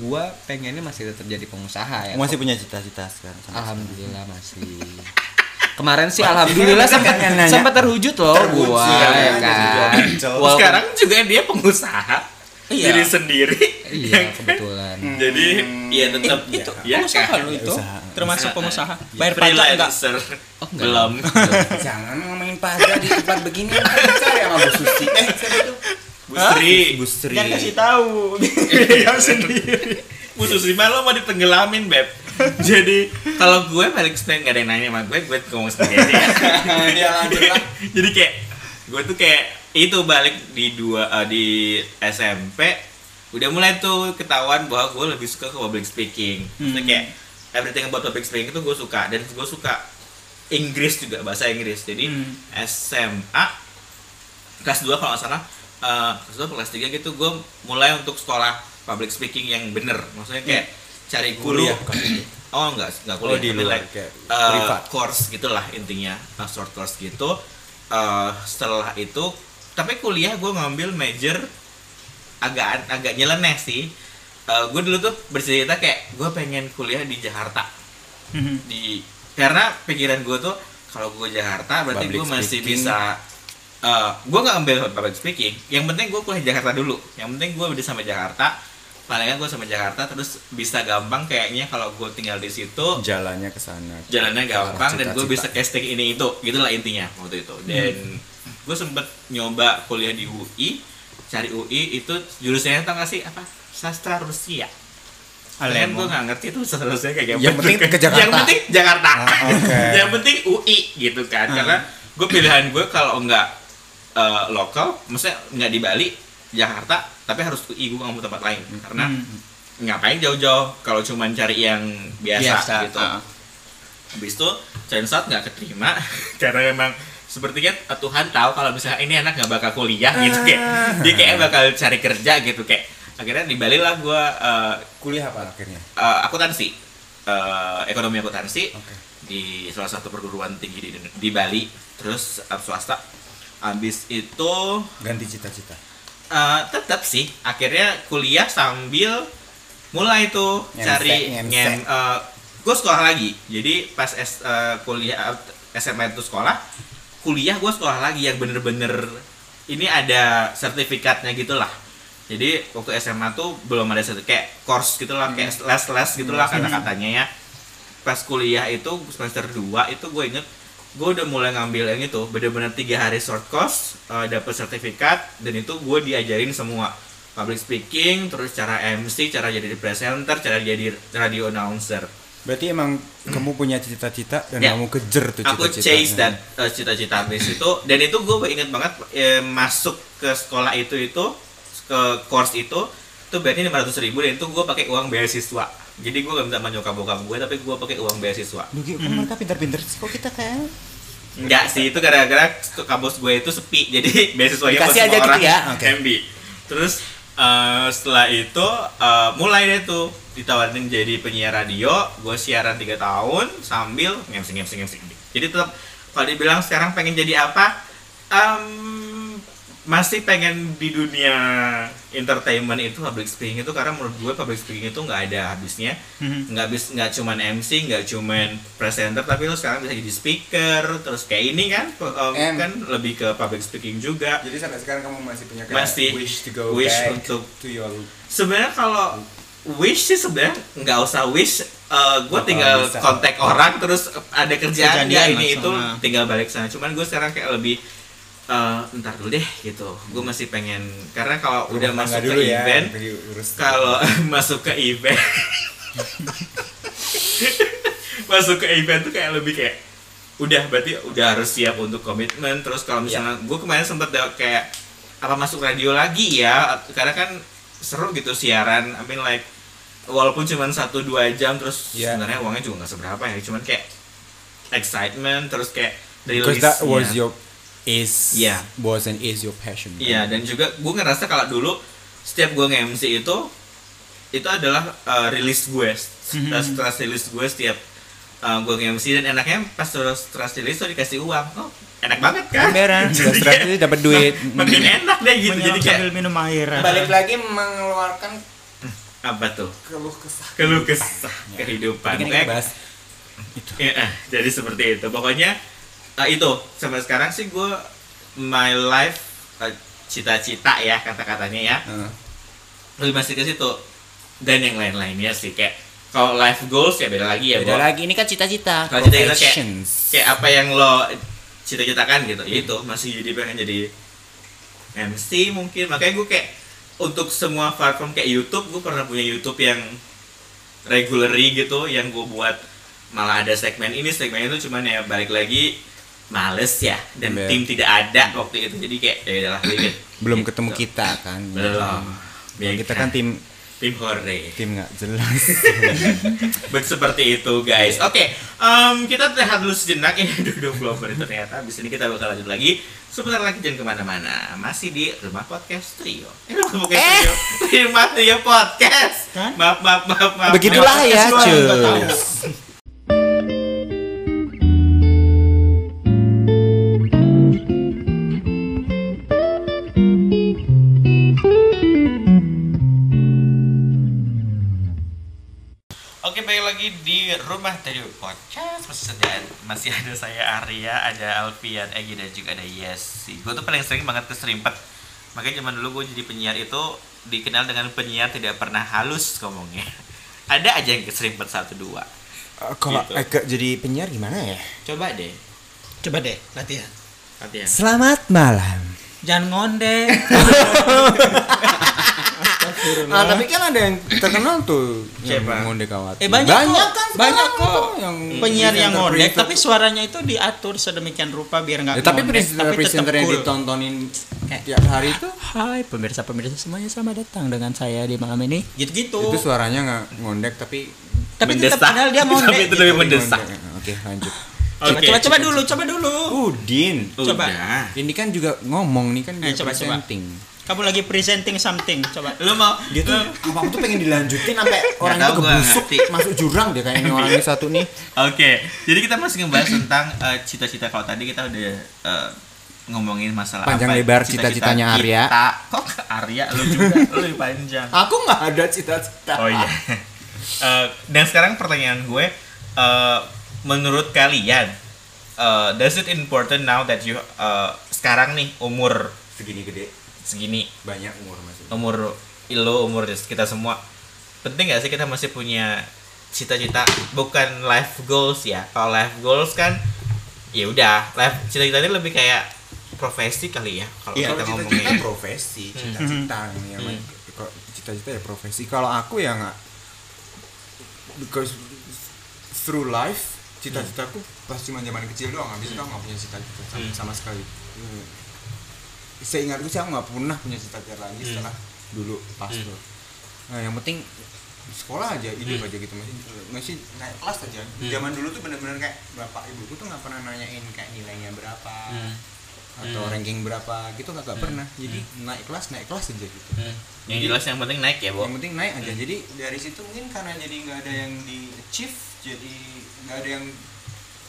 S5: gua pengennya masih tetap jadi pengusaha ya.
S3: masih punya cita-cita sekarang sama
S5: Alhamdulillah masih. Kemarin sih alhamdulillah sempat sempat terwujud loh gua ya kan. Walaupun-
S1: Sekarang juga dia pengusaha.
S5: Iya.
S1: Diri sendiri.
S5: iya kebetulan.
S1: Jadi ya tetap
S4: Itu
S1: ya
S4: pengusaha
S1: kan?
S4: lo itu,
S3: usaha. Iya.
S4: termasuk pengusaha. Bayar pajak nggak?
S1: Iya. freelancer.
S5: Oh, enggak.
S1: Belum.
S3: jangan ngomongin pajak di tempat begini saya sama Bu Susi eh siapa tuh
S1: Bu Sri,
S3: Bu Sri
S4: Jangan Kan kasih tahu.
S3: Iya.
S4: Dia sendiri.
S1: Bu Susi mah lo mau ditenggelamin, Beb. Jadi kalau gue balik stand gak ada yang nanya sama gue, gue ngomong sendiri aja.
S3: ya lanjut lah
S1: Jadi kayak gue tuh kayak itu balik di dua eh, di SMP udah mulai tuh ketahuan bahwa gue lebih suka ke public speaking. Maksudnya
S4: Hmm.
S1: kayak everything about public speaking itu gue suka dan gue suka Inggris juga bahasa Inggris. Jadi
S4: Hmm.
S1: SMA kelas 2 kalau nggak salah eh, kelas 2 kelas 3 gitu gue mulai untuk sekolah public speaking yang bener maksudnya kayak cari guru
S3: Iya. Kuliah, bukan
S1: oh enggak enggak kuliah
S3: di
S1: tapi
S3: luar,
S1: like,
S3: kayak
S1: eh,
S3: privat.
S1: course gitulah intinya eh, short course gitu Eh, setelah itu tapi kuliah gue ngambil major agak agak nyeleneh sih gue dulu tuh bercerita kayak gue pengen kuliah di Jakarta di karena pikiran gue tuh kalau gue Jakarta berarti
S3: Public
S1: gue masih
S3: speaking.
S1: bisa eh gue nggak ambil public speaking yang penting gue kuliah Jakarta dulu yang penting gue udah sama Jakarta palingan gue sama Jakarta terus bisa gampang kayaknya kalau gue tinggal di situ
S3: jalannya ke sana
S1: jalannya gampang dan gue bisa
S3: Cita-cita. Hmm.
S1: casting ini itu gitulah intinya waktu itu dan gue sempet nyoba kuliah di UI cari UI itu jurusnya tau gak sih apa sastra Rusia Kalian gue
S4: Alemo.
S1: gak ngerti tuh seharusnya kayak
S3: Yang
S1: apa
S3: penting
S1: juga.
S3: ke Jakarta.
S1: Yang penting Jakarta.
S3: Ah, oke. Hmm.
S1: yang penting UI gitu kan. Karena gue pilihan gue kalau nggak eh, lokal, maksudnya nggak di Bali, Jakarta, tapi harus UI gue nggak mau tempat lain.
S3: Nah.
S1: Karena
S3: Hmm.
S4: Hmm.
S1: ngapain jauh-jauh kalau cuman cari yang biasa,
S5: Biasa,
S1: gitu.
S5: ah.
S1: Habis itu Chainsaw nggak keterima karena memang sepertinya Tuhan tahu kalau misalnya ini anak nggak bakal kuliah gitu kayak
S3: Ah.
S1: dia kayak bakal cari kerja gitu kayak akhirnya di Bali lah gue eh,
S3: Kuliah apa akhirnya?
S1: Eh, akuntansi Eh, ekonomi akuntansi
S3: Oh.
S1: di salah satu perguruan tinggi di, di Bali terus eh, swasta habis itu
S3: Ganti cita-cita.
S1: eh, tetap sih akhirnya kuliah sambil mulai tuh
S3: Ngemsek,
S1: cari
S3: ngemsek.
S1: ngem gue sekolah lagi jadi pas S, eh, kuliah SMA itu sekolah kuliah gue sekolah lagi yang bener-bener ini ada sertifikatnya gitulah jadi waktu SMA tuh belum ada sertifikat kayak course gitulah kayak
S3: Hmm.
S1: les-les gitulah kata-katanya ya pas kuliah itu semester 2 itu gue inget gue udah mulai ngambil yang itu bener-bener tiga hari short course eh, dapet sertifikat dan itu gue diajarin semua public speaking terus cara MC cara jadi presenter cara jadi radio announcer
S3: Berarti emang kamu punya cita-cita dan
S1: Ya.
S3: kamu kejer tuh
S1: aku
S3: cita-citanya.
S1: chase dan uh, cita-cita di situ dan itu gue inget banget eh, masuk ke sekolah itu itu ke course itu itu berarti lima ratus ribu dan itu gue pakai uang beasiswa jadi gue gak minta sama nyokap bokap gue tapi gue pakai uang beasiswa
S3: Duh, kok
S4: Hmm.
S3: mereka pintar-pintar sih kok kita kayak
S1: Enggak sih, itu gara-gara kampus gue itu sepi. Jadi beasiswanya buat
S3: Dikasih
S1: semua
S3: aja gitu
S1: orang
S3: ya, oke.
S1: MB. Terus eh, setelah itu eh, mulai deh tuh ditawarin jadi penyiar radio, gue siaran 3 tahun sambil ngemsing ngemsing ngemsing. Jadi tetap kalau dibilang sekarang pengen jadi apa? Em, masih pengen di dunia entertainment itu public speaking itu karena menurut gue public speaking itu nggak ada habisnya nggak bis nggak cuman MC nggak cuman presenter tapi lo sekarang bisa jadi speaker terus kayak ini kan eh,
S3: Em.
S1: kan lebih ke public speaking juga
S3: Jadi sampai sekarang kamu masih punya
S1: kayak Masih. wish to go Wish back untuk-
S3: to your
S1: sebenarnya kalau wish sih sebenarnya nggak usah wish Eh, gue
S3: Bakal
S1: tinggal
S3: bisa.
S1: kontak orang terus ada
S4: Kejadian
S1: kerjaan ya ini
S4: langsung,
S1: itu
S4: nah.
S1: tinggal balik sana cuman gue sekarang kayak lebih eh ntar dulu deh gitu gue masih pengen karena kalau udah masuk ke
S3: ya,
S1: event kalau masuk ke event masuk ke event tuh kayak lebih kayak udah berarti udah harus siap untuk komitmen terus kalau
S3: Iya.
S1: misalnya gue kemarin sempet da- kayak apa masuk radio lagi ya karena kan seru gitu siaran I mean like walaupun cuma satu dua jam terus
S3: Ya.
S1: sebenarnya uangnya juga nggak seberapa ya cuman kayak excitement terus kayak
S3: because that
S1: rilisnya.
S3: was your is
S1: Yeah.
S3: was and is your passion. kan?
S1: Iya dan juga gue ngerasa kalau dulu setiap gue nge-MC itu itu adalah uh, rilis gue stress stress rilis gue setiap uh, gue nge-MC dan enaknya pas terus stress rilis tuh dikasih uang oh enak banget kan
S4: Beneran.
S1: Jadi
S3: Stress
S1: kayak
S3: rilis dapat duit.
S1: mak- makin enak deh gitu jadi
S4: Menyelam
S1: kayak
S4: sambil minum air.
S8: Balik lagi mengeluarkan
S1: apa tuh
S8: keluh kesah.
S1: keluh kesah kehidupan
S3: Ini
S1: Kayak-
S3: kita bahas gitu.
S1: Ya, eh, jadi seperti itu. Pokoknya eh, itu sampai sekarang sih gue my life eh, cita-cita ya kata-katanya ya.
S3: Heeh.
S1: Lebih masih ke situ dan yang lain-lainnya sih kayak kalau life goals ya beda lagi ya.
S3: beda
S1: Bo.
S3: lagi ini kan cita-cita.
S1: Kalau cita-cita Nah, kayak-
S3: Professions.
S1: Kayak apa yang lo cita-citakan gitu. Ya itu masih jadi pengen jadi MC mungkin. Makanya gue kayak untuk semua platform kayak YouTube gue pernah punya YouTube yang regularly gitu yang gue buat malah ada segmen ini segmen itu cuman ya balik lagi males ya dan
S3: Iya.
S1: tim tidak ada waktu itu jadi kayak ya udahlah leave it.
S3: belum
S1: Gitu.
S3: ketemu kita kan.
S1: belum Iya. Nah,
S3: Belum. Kita kan tim
S1: tim hore
S3: tim nggak jelas.
S1: But seperti itu guys. Oke, em, kita rehat dulu sejenak ini udah 20 menit ternyata. Abis ini kita bakal lanjut lagi. Sebentar lagi jangan kemana-mana. Masih di rumah podcast trio. Eh, rumah podcast trio. Rumah trio podcast.
S4: Kan?
S1: Maaf, maaf, maaf, maaf.
S3: Begitulah
S1: Rumah
S3: ya,
S1: podcast doang, gak tahu.
S3: cus.
S1: Oke, balik lagi di rumah trio podcast. Masih dan masih ada saya Arya, ada Alfian, Egi dan juga ada Yesi. Gue tuh paling sering banget keserimpet. Makanya zaman dulu gue jadi penyiar itu dikenal dengan penyiar tidak pernah halus ngomongnya. Ada aja yang keserimpet satu dua.
S3: Eh, Kalau
S1: Gitu.
S3: agak jadi penyiar gimana ya?
S1: Coba deh.
S4: Coba deh latihan.
S1: Latihan.
S3: Selamat malam.
S4: jangan ngondek
S3: Ah, tapi kan ada yang terkenal tuh yang
S1: Siapa?
S3: ngondek awat.
S4: eh banyak, kok
S3: kan
S4: banyak
S3: sekarang
S4: kok
S3: tuh yang
S4: penyiar yang
S3: presenter-
S4: ngondek
S3: presenter.
S4: tapi suaranya itu diatur sedemikian rupa biar nggak
S3: Ya, tapi
S4: ngondek,
S3: presenter
S4: tapi tetap
S3: presenter yang
S4: cool.
S3: ditontonin tiap hari itu
S4: Hai pemirsa-pemirsa semuanya selamat datang dengan saya di malam ini. Gitu-gitu.
S3: itu suaranya nggak ngondek tapi
S4: Tapi tetap
S1: Mendesak.
S4: padahal dia mau gitu?
S1: Tapi itu lebih mendesak.
S3: ngondek. Eh, Oke, lanjut.
S4: Coba,
S1: Oke.
S4: coba coba dulu, coba dulu.
S3: Udin.
S4: Coba.
S1: Udah.
S3: Ini kan juga ngomong nih kan
S4: Eh,
S3: juga
S4: coba, coba.
S3: presenting.
S4: Kamu lagi presenting something, coba.
S1: Lu mau
S3: Dia tuh
S1: lu-
S3: apa tuh pengen dilanjutin sampai orang
S1: tahu
S3: itu
S1: gua,
S3: kebusuk
S1: ngerti.
S3: masuk jurang dia kayaknya orang ini satu nih.
S1: Oke, jadi kita masih ngebahas tentang eh, cita-cita kalau tadi kita udah eh, ngomongin masalah
S3: Panjang
S1: apa ya,
S3: lebar
S1: cita-cita
S3: cita-citanya
S1: kita.
S3: Arya.
S1: Kok ke Arya lu juga lu lebih panjang.
S3: Aku nggak ada cita-cita.
S1: Oh iya. Eh, dan sekarang pertanyaan gue, eh, menurut kalian, eh, does it important now that you eh, sekarang nih umur
S3: Segini gede
S1: segini,
S3: banyak umur masih.
S1: umur lo, umur kita semua, penting gak sih kita masih punya cita-cita? Bukan life goals ya. Kalau life goals kan, ya udah, life cita-citanya lebih kayak profesi kali ya kalau
S3: Iya,
S1: kita
S3: kalau cita-cita
S1: ngomongin. Hmm.
S3: profesi, cita-cita ya, kan. Kalau cita-cita ya profesi. Kalau aku ya nggak because through life cita-citaku
S1: Hmm.
S3: pas cuma zaman kecil doang habis itu aku nggak punya cita-cita sama, sama sekali Hmm. seingatku sih aku nggak pernah punya cita-cita lagi
S1: Hmm.
S3: setelah dulu pas tuh nah, yang penting sekolah aja hidup
S1: Hmm.
S3: aja gitu masih masih naik kelas aja zaman dulu tuh bener-bener kayak bapak ibuku tuh nggak pernah nanyain kayak nilainya berapa
S1: Hmm.
S3: atau ranking berapa gitu nggak nggak pernah jadi
S1: Hmm.
S3: naik kelas naik kelas aja gitu
S1: Yang jelas yang penting naik ya, Bo.
S3: yang penting naik aja jadi dari situ mungkin karena jadi nggak ada yang di achieve jadi nggak ada yang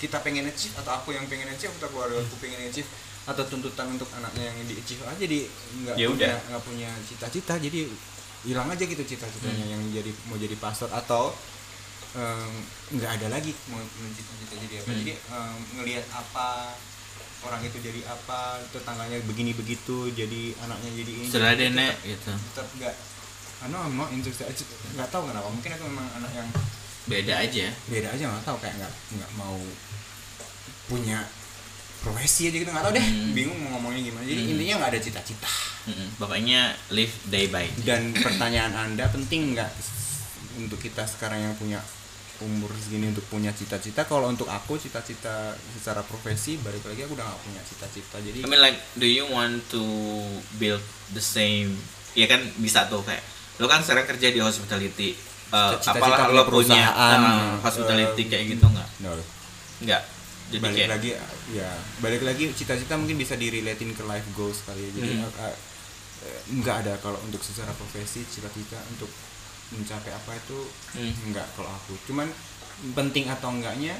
S3: kita pengen achieve atau aku yang pengen achieve atau keluarga aku pengen achieve atau tuntutan untuk anaknya yang di achieve aja jadi nggak
S1: Ya
S3: punya
S1: udah.
S3: nggak punya cita-cita jadi hilang aja gitu cita-citanya yang jadi mau jadi pastor atau em, nggak ada lagi mau mau cita-cita jadi apa jadi em, ngelihat apa orang itu jadi apa tetangganya begini begitu jadi anaknya jadi ini
S1: Setelah
S3: Jadi
S1: Nek,
S3: tetap-
S1: gitu.
S3: tetap nggak ano I'm not interested It's- nggak tahu kenapa mungkin aku memang anak yang
S1: Beda aja.
S3: beda aja nggak tahu kayak nggak nggak mau punya profesi aja gitu nggak tahu deh
S1: Hmm.
S3: bingung mau ngomongnya gimana jadi intinya nggak ada cita-cita
S1: Mm-mm. Pokoknya live day by day.
S3: dan pertanyaan anda penting nggak untuk kita sekarang yang punya umur segini untuk punya cita-cita kalau untuk aku cita-cita secara profesi balik lagi aku udah nggak punya cita-cita jadi
S1: I mean like do you want to build the same ya kan bisa tuh kayak lo kan sekarang kerja di hospitality Eh,
S3: Cita-cita punya
S1: apalah lo punya
S3: perusahaan,
S1: eh, hospitality
S3: eh,
S1: kayak gitu nggak
S3: no.
S1: nggak jadi
S3: balik
S1: kayak
S3: lagi ya balik lagi cita-cita mungkin bisa direlatin ke life goals kali ya jadi eh,
S1: Hmm.
S3: eh, nggak ada kalau untuk secara profesi cita-cita untuk mencapai apa itu
S1: Hmm.
S3: nggak kalau aku cuman penting atau enggaknya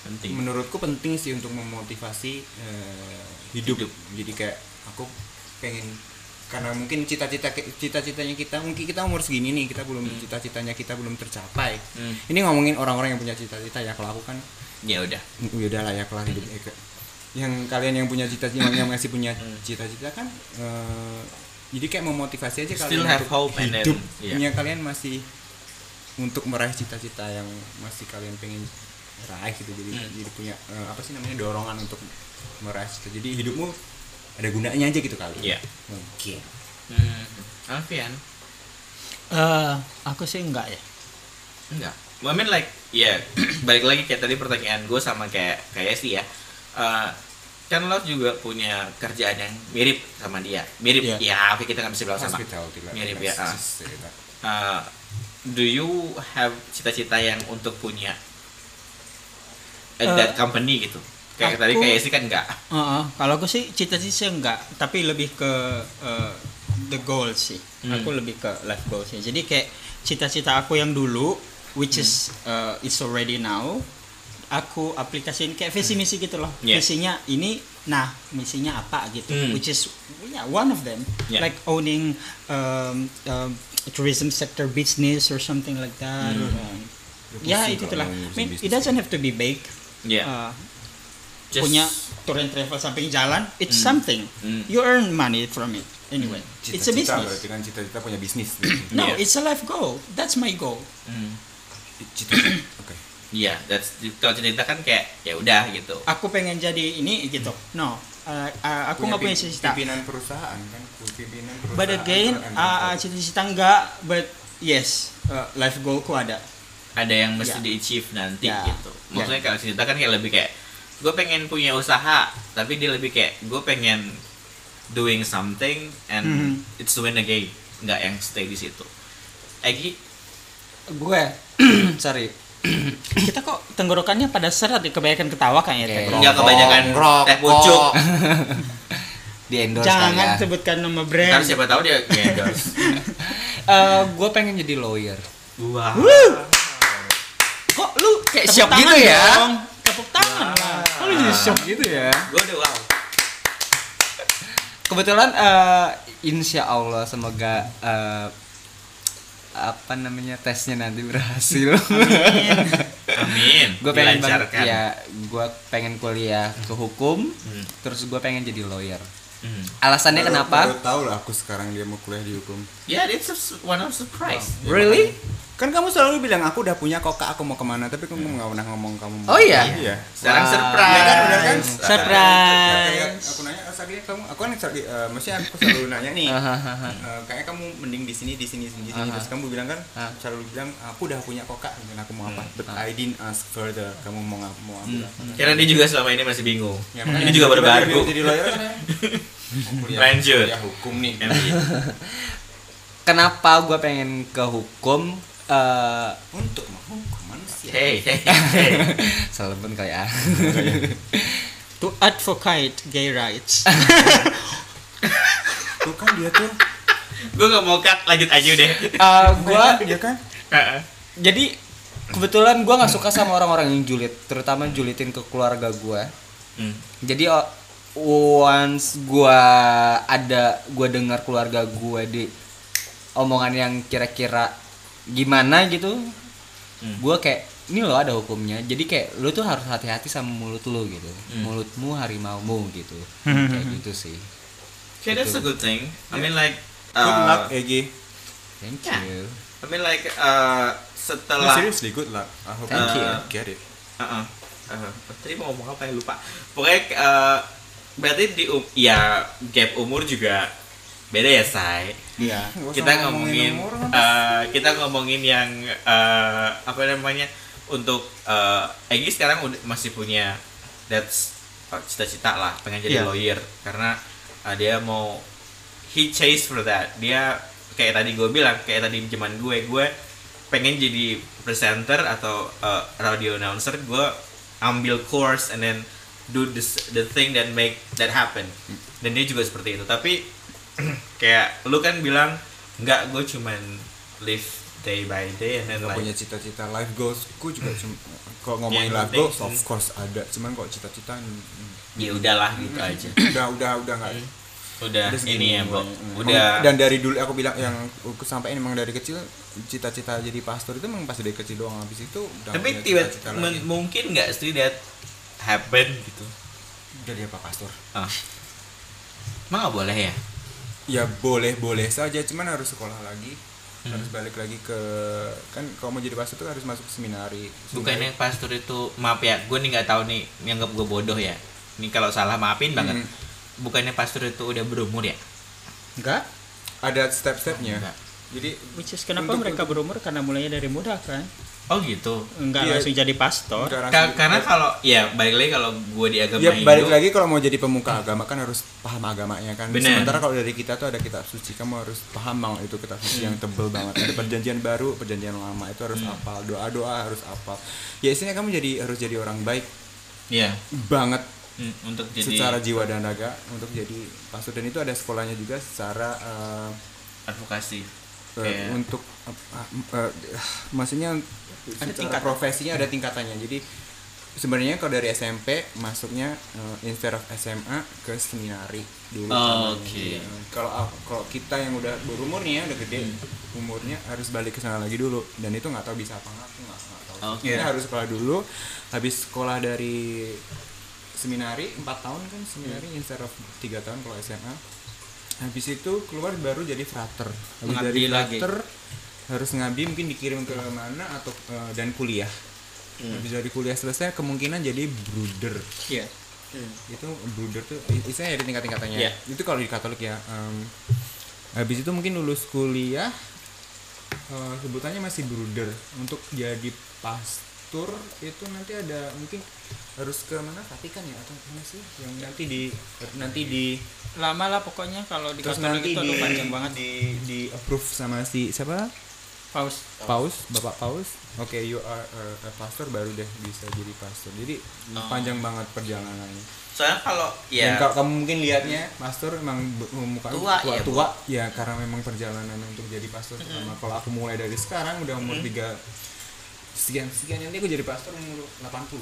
S1: penting
S3: menurutku penting sih untuk memotivasi eh, hidup. jadi kayak aku pengen karena mungkin cita-cita cita-citanya kita mungkin kita umur segini nih kita belum cita-citanya kita belum tercapai
S1: Hmm.
S3: ini ngomongin orang-orang yang punya cita-cita ya kalau aku kan
S1: ya udah
S3: ya udah lah ya kelar hidup Eka. yang kalian yang punya cita-cita yang masih punya
S1: Hmm.
S3: cita-cita kan eh, jadi kayak memotivasi aja
S1: Still
S3: kalian
S1: have
S3: untuk
S1: hope and then-
S3: hidupnya kalian masih untuk meraih cita-cita yang masih kalian pengen raih gitu jadi
S1: Hmm.
S3: jadi punya eh, apa sih namanya dorongan untuk meraih cita jadi hidupmu ada gunanya aja gitu kali
S1: Iya.
S3: mungkin
S1: hmm. Alfian
S4: Eh, aku sih enggak ya.
S1: Enggak. Well, I mean like ya balik lagi kayak tadi pertanyaan gue sama kayak kayak sih ya. Eh, kan lo juga punya kerjaan yang mirip sama dia.
S3: Iya.
S1: Mirip ya, oke kita nggak bisa bilang sama.
S3: hospital tidak
S1: Mirip ya.
S3: tidak-
S1: ah.
S3: tidak.
S1: Eh, do you have cita-cita yang untuk punya at that company gitu? Kayak
S4: Uh,
S1: tadi
S4: aku-
S1: kayak sih kan enggak.
S4: Heeh, kalau aku sih cita-cita enggak, tapi lebih ke eh, the goal sih.
S1: Hmm.
S4: Aku lebih ke life goal sih. Jadi kayak cita-cita aku yang dulu which is
S1: Hmm.
S4: eh, is already now aku aplikasiin kayak visi misi gitu loh.
S1: Hmm. Yeah.
S4: Visinya ini nah, misinya apa gitu.
S1: Hmm.
S4: Which is yeah, one of them
S1: Yeah.
S4: like owning um, um, tourism sector business or something like that.
S1: Hmm.
S4: Um, ya
S3: pusing
S4: itu itulah. I
S3: kalau ngurusin
S4: mean, it
S3: bisnis.
S4: doesn't have to be big.
S1: Yeah.
S4: Uh,
S1: Iya. Just-
S4: punya tour and travel samping jalan it's something
S1: Mm.
S4: you earn money from it anyway it's a
S3: Cita-cita
S4: business
S3: berarti kan cita-cita punya bisnis
S4: no
S1: Yeah.
S4: it's a life goal that's my goal
S1: Hmm.
S3: cita-cita oke
S1: Iya, that's kalau cerita kan kayak ya udah gitu.
S4: aku pengen jadi ini gitu no uh, uh, aku nggak punya cita-cita
S3: pimpinan perusahaan kan pimpinan perusahaan
S4: but again
S3: kan,
S4: uh,
S3: gitu.
S4: cita-cita enggak but yes uh, life goalku ada
S1: ada yang mesti
S4: Ya.
S1: di achieve nanti
S4: Ya.
S1: gitu maksudnya kalau cerita kan kayak lebih kayak gue pengen punya usaha tapi dia lebih kayak gue pengen doing something and
S4: Mhm.
S1: it's to win a game nggak yang stay di situ Egi
S5: gue sorry
S4: kita kok tenggorokannya pada serat ya kebanyakan ketawa kayaknya
S1: nggak
S8: Rokok,
S1: kebanyakan eh, teh
S8: rokok.
S1: pucuk
S8: di endorse
S4: jangan
S5: ya.
S8: kalian.
S4: sebutkan nama
S1: ntar
S4: brand
S1: siapa tahu dia endorse
S5: Eh, gue pengen jadi lawyer
S1: wah
S4: kok lu
S8: Kayak
S4: tepuk
S8: shock gitu
S4: tangan
S8: ya?
S4: dong. tepuk tangan lah
S5: Kalau jadi shock gitu ya
S1: gue udah wow
S5: kebetulan eh, insya Allah semoga eh, apa namanya tesnya nanti berhasil
S1: amin
S5: gue pengen banget
S1: dilancarkan
S5: ya gue pengen kuliah ke hukum
S1: Hmm.
S5: terus gue pengen jadi lawyer
S1: Hmm.
S5: alasannya
S3: Baru-
S5: kenapa
S3: baru tahu lah aku sekarang dia mau kuliah di hukum
S1: yeah it's a su- one of surprise
S5: really
S3: kan kamu selalu bilang aku udah punya koka aku mau kemana tapi kamu nggak pernah ngomong kamu mau
S5: oh iya
S3: iya
S1: sekarang
S5: Wah.
S1: surprise
S3: Iya kan, bener kan?
S4: surprise
S3: Kayak aku nanya "Oh, Sadia, kamu aku kan Sadia, eh, maksudnya aku selalu nanya nih eh, kayaknya kamu mending di sini di sini di sini
S5: Aha.
S3: terus kamu bilang kan
S5: Ah.
S3: selalu bilang aku udah punya koka dan aku mau apa but I didn't ask further kamu mau ngap mau ambil apa
S1: karena dia juga selama ini masih bingung
S3: Ya, makanya
S1: Hmm. ini juga
S3: tiba-tiba
S1: baru-baru
S3: dia Jadi lawyer kan ya. Mau kuliah-
S1: Lanjut.
S3: kuliah hukum nih.
S5: kenapa gue pengen ke hukum eh
S3: Untuk menghukum manusia.
S1: hey hey hey
S5: salah pun kayak
S4: to advocate gay rights
S3: Tuh kan dia tuh.
S1: gue gak mau cut lanjut aja deh
S5: Eh, gue
S3: Iya kan?
S5: jadi kebetulan gue nggak suka sama orang-orang yang julid terutama julitin ke keluarga gue
S1: Hmm.
S5: jadi o- once gue ada gue dengar keluarga gue di omongan yang kira-kira gimana gitu gue kayak ini loh ada hukumnya jadi kayak lo tuh harus hati-hati sama mulut lo gitu mulutmu harimaumu gitu kayak gitu sih
S1: okay that's a good thing I mean like
S3: Good luck
S1: uh,
S3: Egi.
S5: thank
S1: Yeah.
S5: you
S1: I mean like uh,
S3: No,
S1: setelah
S3: seriously Nah, good luck. I hope
S5: Thank
S3: you
S1: you.
S3: get it.
S1: Uh-uh. Uh, tadi mau ngomong apa ya lupa pokoknya uh, berarti di um- ya gap umur juga beda ya say
S3: Iya.
S1: kita ngomongin eh, kita ngomongin yang eh, apa namanya untuk eh, Egi sekarang udah, masih punya that's eh, cita-cita lah pengen
S4: Iya.
S1: jadi lawyer karena eh, dia mau he chase for that dia kayak tadi gue bilang kayak tadi zaman gue gue pengen jadi presenter atau eh, radio announcer gue ambil course and then do this the thing that make that happen dan dia juga seperti itu tapi kayak lu kan bilang nggak gue cuman live day by day and then
S3: Gak
S1: like ya Hmm.
S3: punya cita-cita life goals. Ku juga cuma kalau ngomongin
S1: Yang
S3: life
S1: penting-
S3: goals of course ada. Cuman kalau cita-cita mm,
S1: ya udahlah gitu
S3: Mm-hmm.
S1: aja
S3: udah udah udah nggak
S1: udah
S3: Terus gini,
S1: ini ya bro
S3: mm.
S1: Hmm. udah
S3: dan dari dulu aku bilang yang aku sampaikan emang dari kecil cita-cita jadi pastor itu memang pas dari kecil doang habis itu udah
S1: tapi
S3: punya
S1: tiba
S3: ya, cita-cita
S1: men-
S3: lagi.
S1: mungkin nggak sih that happen gitu
S3: jadi apa pastor
S1: ah. emang nggak boleh ya
S3: ya boleh boleh saja cuman harus sekolah lagi
S1: Hmm.
S3: harus balik lagi ke kan kalau mau jadi pastor tuh harus masuk seminari
S1: bukannya
S3: Seminari-
S1: pastor itu maaf ya gue nih nggak tahu nih nganggap gue bodoh ya ini kalau salah maafin banget
S3: Hmm.
S1: bukannya pastor itu udah berumur ya
S4: enggak
S3: ada step-stepnya
S1: Enggak.
S3: jadi
S4: which is kenapa mereka berumur karena mulainya dari muda kan
S1: oh gitu
S4: enggak
S3: Iya.
S4: langsung jadi pastor
S3: Enggak
S1: Ka-
S3: langsung-
S1: karena kalau ya balik lagi kalau gue di agama
S3: ya
S1: Hindu,
S3: balik lagi kalau mau jadi pemuka agama kan harus paham agamanya kan
S1: Bener.
S3: sementara kalau dari kita tuh ada kitab suci kamu harus paham bang itu kitab suci yang tebel banget ada perjanjian baru perjanjian lama itu harus hafal doa doa harus hafal ya isinya kamu jadi harus jadi orang baik
S1: Iya.
S3: banget
S1: Hmm, untuk jadi
S3: secara jiwa dan raga untuk jadi pastor dan itu ada sekolahnya juga secara eh,
S1: advokasi
S3: eh,
S1: Kayak-
S3: untuk eh, eh, eh, maksudnya secara profesinya ada tingkatannya jadi sebenarnya kalau dari SMP masuknya eh, instead of SMA ke seminari dulu
S1: Oh,
S3: namanya.
S1: oke.
S3: Iya. kalau aku- kalau kita yang udah berumur nih ya udah gede
S1: Hmm.
S3: umurnya harus balik ke sana lagi dulu dan itu nggak tahu bisa apa nggak aku nggak nggak tahu
S1: Oke.
S3: Ini harus sekolah dulu habis sekolah dari seminari 4 tahun kan seminari
S1: Hmm.
S3: instead of 3 tahun kalau SMA habis itu keluar baru jadi frater habis
S1: Ngabdi
S3: dari
S1: lagi. Hmm.
S3: frater harus ngabdi mungkin dikirim ke mana atau eh, dan kuliah habis dari kuliah selesai kemungkinan jadi brooder
S4: Iya.
S3: itu blunder tuh istilahnya ada tingkat-tingkatannya
S1: Iya.
S3: itu kalau di Katolik ya em, habis itu mungkin lulus kuliah eh, sebutannya masih bruder untuk jadi pastor itu nanti ada mungkin harus ke mana Vatikan ya atau mana sih yang nanti di nanti di
S4: lama lah pokoknya kalau di
S3: terus
S4: Katolik
S3: nanti
S4: itu
S3: di,
S4: aduh panjang banget
S3: di di approve sama si siapa
S4: paus
S3: Paus, Bapak Paus. Oke, you are a, a pastor baru deh bisa jadi pastor. Jadi panjang banget perjalanannya.
S1: soalnya kalau
S3: Dan
S1: ya
S3: kalau kamu mungkin lihatnya pastor memang be- muka
S1: Tua,
S3: tua
S1: ya, Bu.
S3: tua ya karena memang perjalanan untuk jadi pastor sama kalau aku mulai dari sekarang udah umur tiga sekian sekian nanti aku jadi pastor umur 80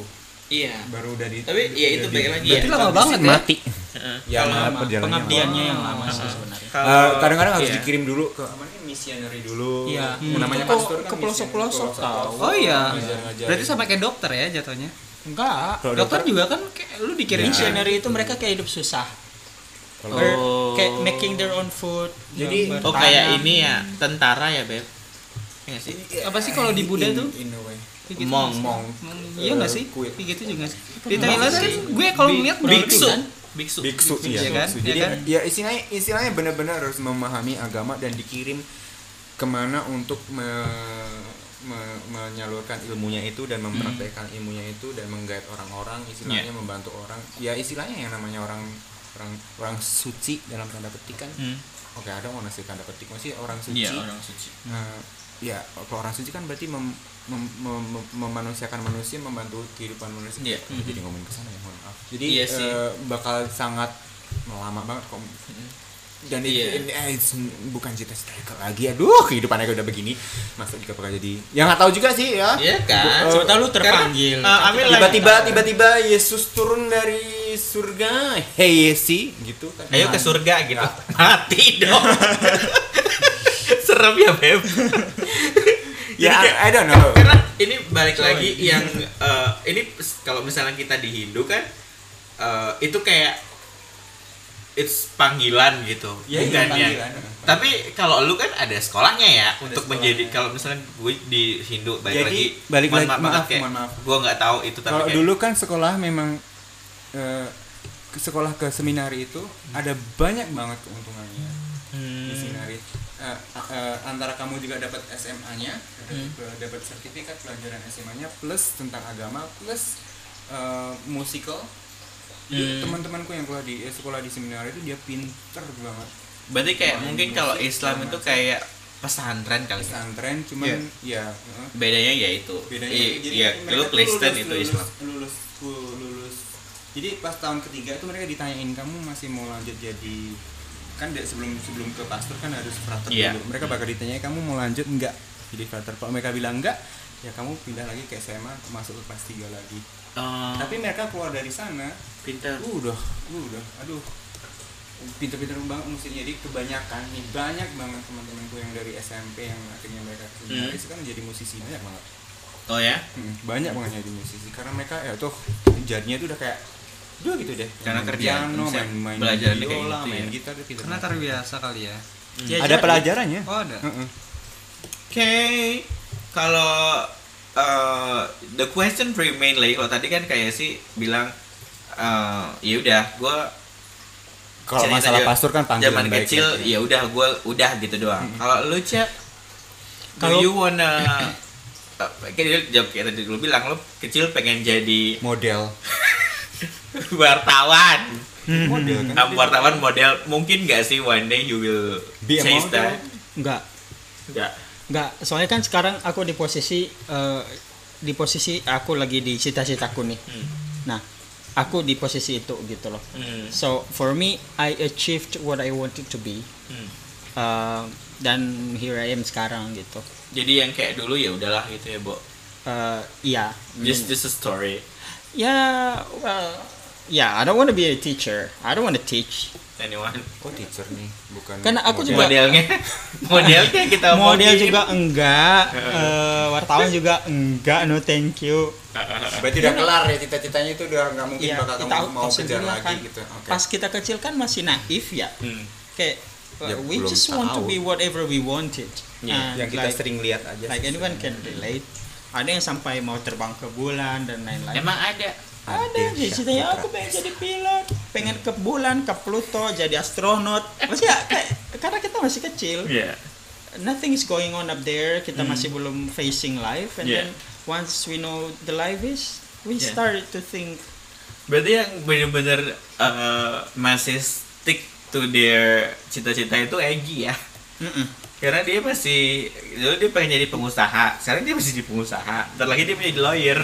S1: iya
S3: baru udah di
S1: tapi ya itu
S3: jadi-
S1: baik lagi ya
S5: Berarti lama banget mati.
S1: Heeh.
S3: ya
S1: Kalau-
S3: malah perjalanannya
S4: pengabdiannya yang lama sih
S1: Eh,
S4: sebenarnya
S3: Eh, kadang-kadang harus
S1: iya.
S3: dikirim dulu ke apa namanya, misionary dulu
S4: Iya.
S3: Hmm. namanya
S4: Itu kok
S3: pastor kan
S4: ke pelosok-pelosok
S3: misionary, ke pelosok-pelosok,
S5: Oh iya.
S3: ngajar-ngajarin.
S5: Berarti sama kayak dokter ya jatuhnya.
S4: enggak
S3: Kalau
S5: Dokter, juga kan kayak lu dikirim
S4: missionary itu mereka kayak hidup susah
S3: Kalau-
S4: Mer- kayak making their own food
S3: Jadi-
S4: bertanam.
S1: oh kayak ini ya tentara ya beb Iya sih
S5: apa sih kalau di Buddha tuh?
S3: in a way.
S5: Kayak gitu
S1: Mong,
S5: nggak sih?
S3: mong.
S5: Mong, Iya
S3: Eh,
S5: nggak sih?
S3: kuil.
S5: Kayak gitu juga nggak sih. Di Thailand kan gue kalau ngeliat
S1: biksu biksu
S3: kan? biksu
S5: Iya
S3: iya
S5: kan?
S3: biksu.
S5: Iya
S3: jadi
S5: kan?
S3: ya istilahnya istilahnya benar-benar harus memahami agama dan dikirim kemana untuk me- me- menyalurkan ilmunya itu
S5: Hmm.
S3: dan mempraktekkan ilmunya itu dan menggait orang-orang istilahnya
S5: Iya.
S3: membantu orang ya istilahnya yang namanya orang orang orang suci dalam tanda petik kan
S5: Hmm.
S3: oke ada orang sih tanda petik masih orang
S5: Iya,
S3: suci
S1: suci
S3: Nah, ya kalau orang suci kan berarti mem, mem- mem- mem- memanusiakan manusia membantu kehidupan manusia
S1: Iya.
S3: Aduh, jadi ngomongin kesana ya mohon maaf jadi
S1: Iya sih.
S3: eh, bakal sangat lama banget kok dan itu
S1: Iya.
S3: ini- eh, it's bukan cita-cita Eka lagi aduh kehidupan Eka udah begini masa juga bakal jadi ya nggak tahu juga sih ya
S1: Iya kan?
S3: Bu- eh,
S1: Siapa tahu
S4: lu terpanggil.
S1: Karena, eh, Amin lah.
S3: tiba-tiba tiba-tiba Yesus turun dari surga hey Yesi gitu kan
S1: Ayo ke surga gitu. Mati dong. Serem ya, Beb.
S3: ya
S1: Jadi kayak-
S3: I, I don't know
S1: Karena ini balik lagi yang eh, ini pes- kalau misalnya kita di Hindu kan eh, itu kayak it's panggilan gitu.
S3: Ya, iya,
S1: bukan ya?
S3: panggilan.
S1: Tapi kalau lu kan ada sekolahnya ya untuk menjadi kalau misalnya gue di Hindu
S3: Jadi,
S1: balik lagi
S3: balik
S1: mohon
S3: lagi-
S1: maaf,
S3: maaf,
S1: kayak,
S3: mohon maaf.
S1: gue nggak tahu itu tapi
S3: Kalau
S1: kayak-
S3: dulu kan sekolah memang eh, ke sekolah ke seminari itu ada banyak banget keuntungannya di seminari. Eh, eh, antara kamu juga dapat SMA-nya, dapat sertifikat pelajaran SMA-nya plus tentang agama plus eh, musical. Jadi Teman-temanku yang keluar di eh, sekolah di seminari itu dia pinter banget
S1: berarti kayak
S3: Main
S1: mungkin
S3: musik
S1: kalau
S3: segala
S1: Islam itu
S3: macam.
S1: kayak pesantren kali ya.
S3: pesantren cuman
S1: Iya.
S3: ya eh,
S1: bedanya ya itu
S3: bedanya
S1: I-
S3: jadi
S1: iya
S3: mereka
S1: lu
S3: tuh
S1: Kristen
S3: lulus-
S1: itu
S3: lulus,
S1: Islam
S3: lulus lulus jadi pas tahun ketiga itu mereka ditanyain kamu masih mau lanjut jadi kan da- sebelum sebelum ke pastor kan harus frater
S1: Iya.
S3: dulu mereka bakal ditanyain kamu mau lanjut enggak jadi frater kalau mereka bilang enggak ya kamu pindah lagi ke SMA masuk ke kelas 3 lagi
S1: oh,
S3: tapi mereka keluar dari sana
S1: pintar
S3: Uh, udah uh, udah aduh pinter-pinter banget musiknya jadi kebanyakan nih banyak banget teman-temanku yang dari SMP yang akhirnya mereka kesini
S1: Hmm.
S3: itu kan jadi musisi banyak banget
S1: oh ya
S3: Hmm, banyak banget jadi musisi karena mereka ya tuh jadinya tuh udah kayak dua gitu deh
S1: Karena
S3: main
S1: kerjaan,
S3: piano
S1: bisa
S3: main main
S1: belajaran kayak
S3: biola
S1: gitu
S3: main
S1: ya.
S3: gitar gitu
S5: Karena terbiasa kali ya.
S4: Ya,
S3: ada
S4: jadi-
S3: pelajarannya
S5: Oh ada.
S3: Heeh.
S1: Oke, kalau eh, the question remain lagi kalau tadi kan kayak sih bilang eh, ya udah gue
S3: kalau
S1: Cerita
S3: masalah
S1: dia,
S3: pastor kan panggilan
S1: zaman
S3: baik Hmm.
S1: kecil ya udah gue udah gitu doang. Kalau lu cek,
S4: Kalau-
S1: kalau you wanna eh, kayak dia- kayak tadi lu bilang lu kecil pengen jadi
S3: model
S1: wartawan.
S4: Hmm.
S3: model kan
S1: Nah, wartawan model mungkin nggak sih one day you will
S3: Be a
S1: chase
S3: model.
S1: that? Ya.
S4: enggak
S1: Nggak.
S4: Nggak, soalnya kan sekarang aku di posisi eh, di posisi aku lagi di cita-citaku nih.
S1: Hmm.
S4: Nah, aku di posisi itu gitu loh.
S1: Hmm.
S4: So for me, I achieved what I wanted to be.
S1: Hmm.
S4: Eh, dan here I am sekarang gitu.
S1: Jadi yang kayak dulu ya udahlah gitu ya, Bo.
S4: Eh, Iya.
S1: Just just a story.
S4: Ya, well, yeah. I don't want to be a teacher. I don't want to teach.
S1: Anyone.
S3: kok "Oh, teacher nih bukan
S4: Karena aku
S3: model.
S4: juga
S1: Modelnya. Modelnya kita
S4: model
S1: omongin.
S4: juga enggak, eh, wartawan juga enggak. No thank you.
S3: Berarti udah kelar ya cita-citanya itu udah nggak mungkin
S4: Iya,
S3: bakal
S4: kita
S3: kamu mau
S4: tahu
S3: kejar
S4: sendiri lah
S3: lagi
S4: kan.
S3: gitu. Oke.
S4: Pas kita kecil kan masih naif ya.
S1: Hmm.
S4: kayak uh,
S3: Ya,
S4: we
S3: belum
S4: just want to
S3: tahu.
S4: be whatever we wanted And
S1: Iya,
S3: Yang kita
S4: Nah, like,
S3: sering lihat aja.
S4: like
S3: sih.
S4: anyone can relate ada yang sampai mau terbang ke bulan dan lain-lain
S1: Emang ada.
S4: ada di situ ya aku pengen jadi pilot pengen ke bulan ke Pluto jadi astronot masih ya, kayak- karena kita masih kecil
S1: Iya.
S4: nothing is going on up there kita masih belum facing life and
S1: Yeah.
S4: then once we know the life is we
S1: Yeah.
S4: start to think
S1: Berarti yang bener-bener eh, masih stick to their cita-cita itu Egi ya.
S4: "Mm-mm,
S1: Karena dia masih dulu dia pengen jadi pengusaha. Sekarang dia masih jadi pengusaha. Ntar lagi dia menjadi lawyer.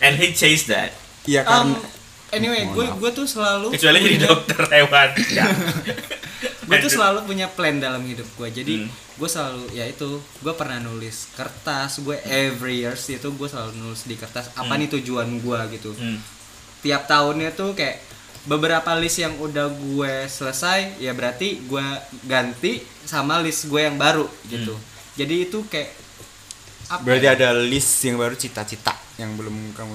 S1: And he chased that.
S3: Iya karena
S5: Um, anyway, gue gue tuh selalu
S1: Kecuali jadi
S5: punya-
S1: dokter hewan. Ya.
S5: gue tuh selalu punya plan dalam hidup gue jadi
S1: Hmm.
S5: gue selalu ya itu gue pernah nulis kertas gue every years itu gue selalu nulis di kertas apa nih tujuan gue gitu
S1: Hmm.
S5: tiap tahunnya tuh kayak beberapa list yang udah gue selesai ya berarti gue ganti sama list gue yang baru gitu
S3: Hmm.
S5: jadi itu kayak apa
S3: berarti
S5: ya?
S3: ada list yang baru cita-cita yang belum kamu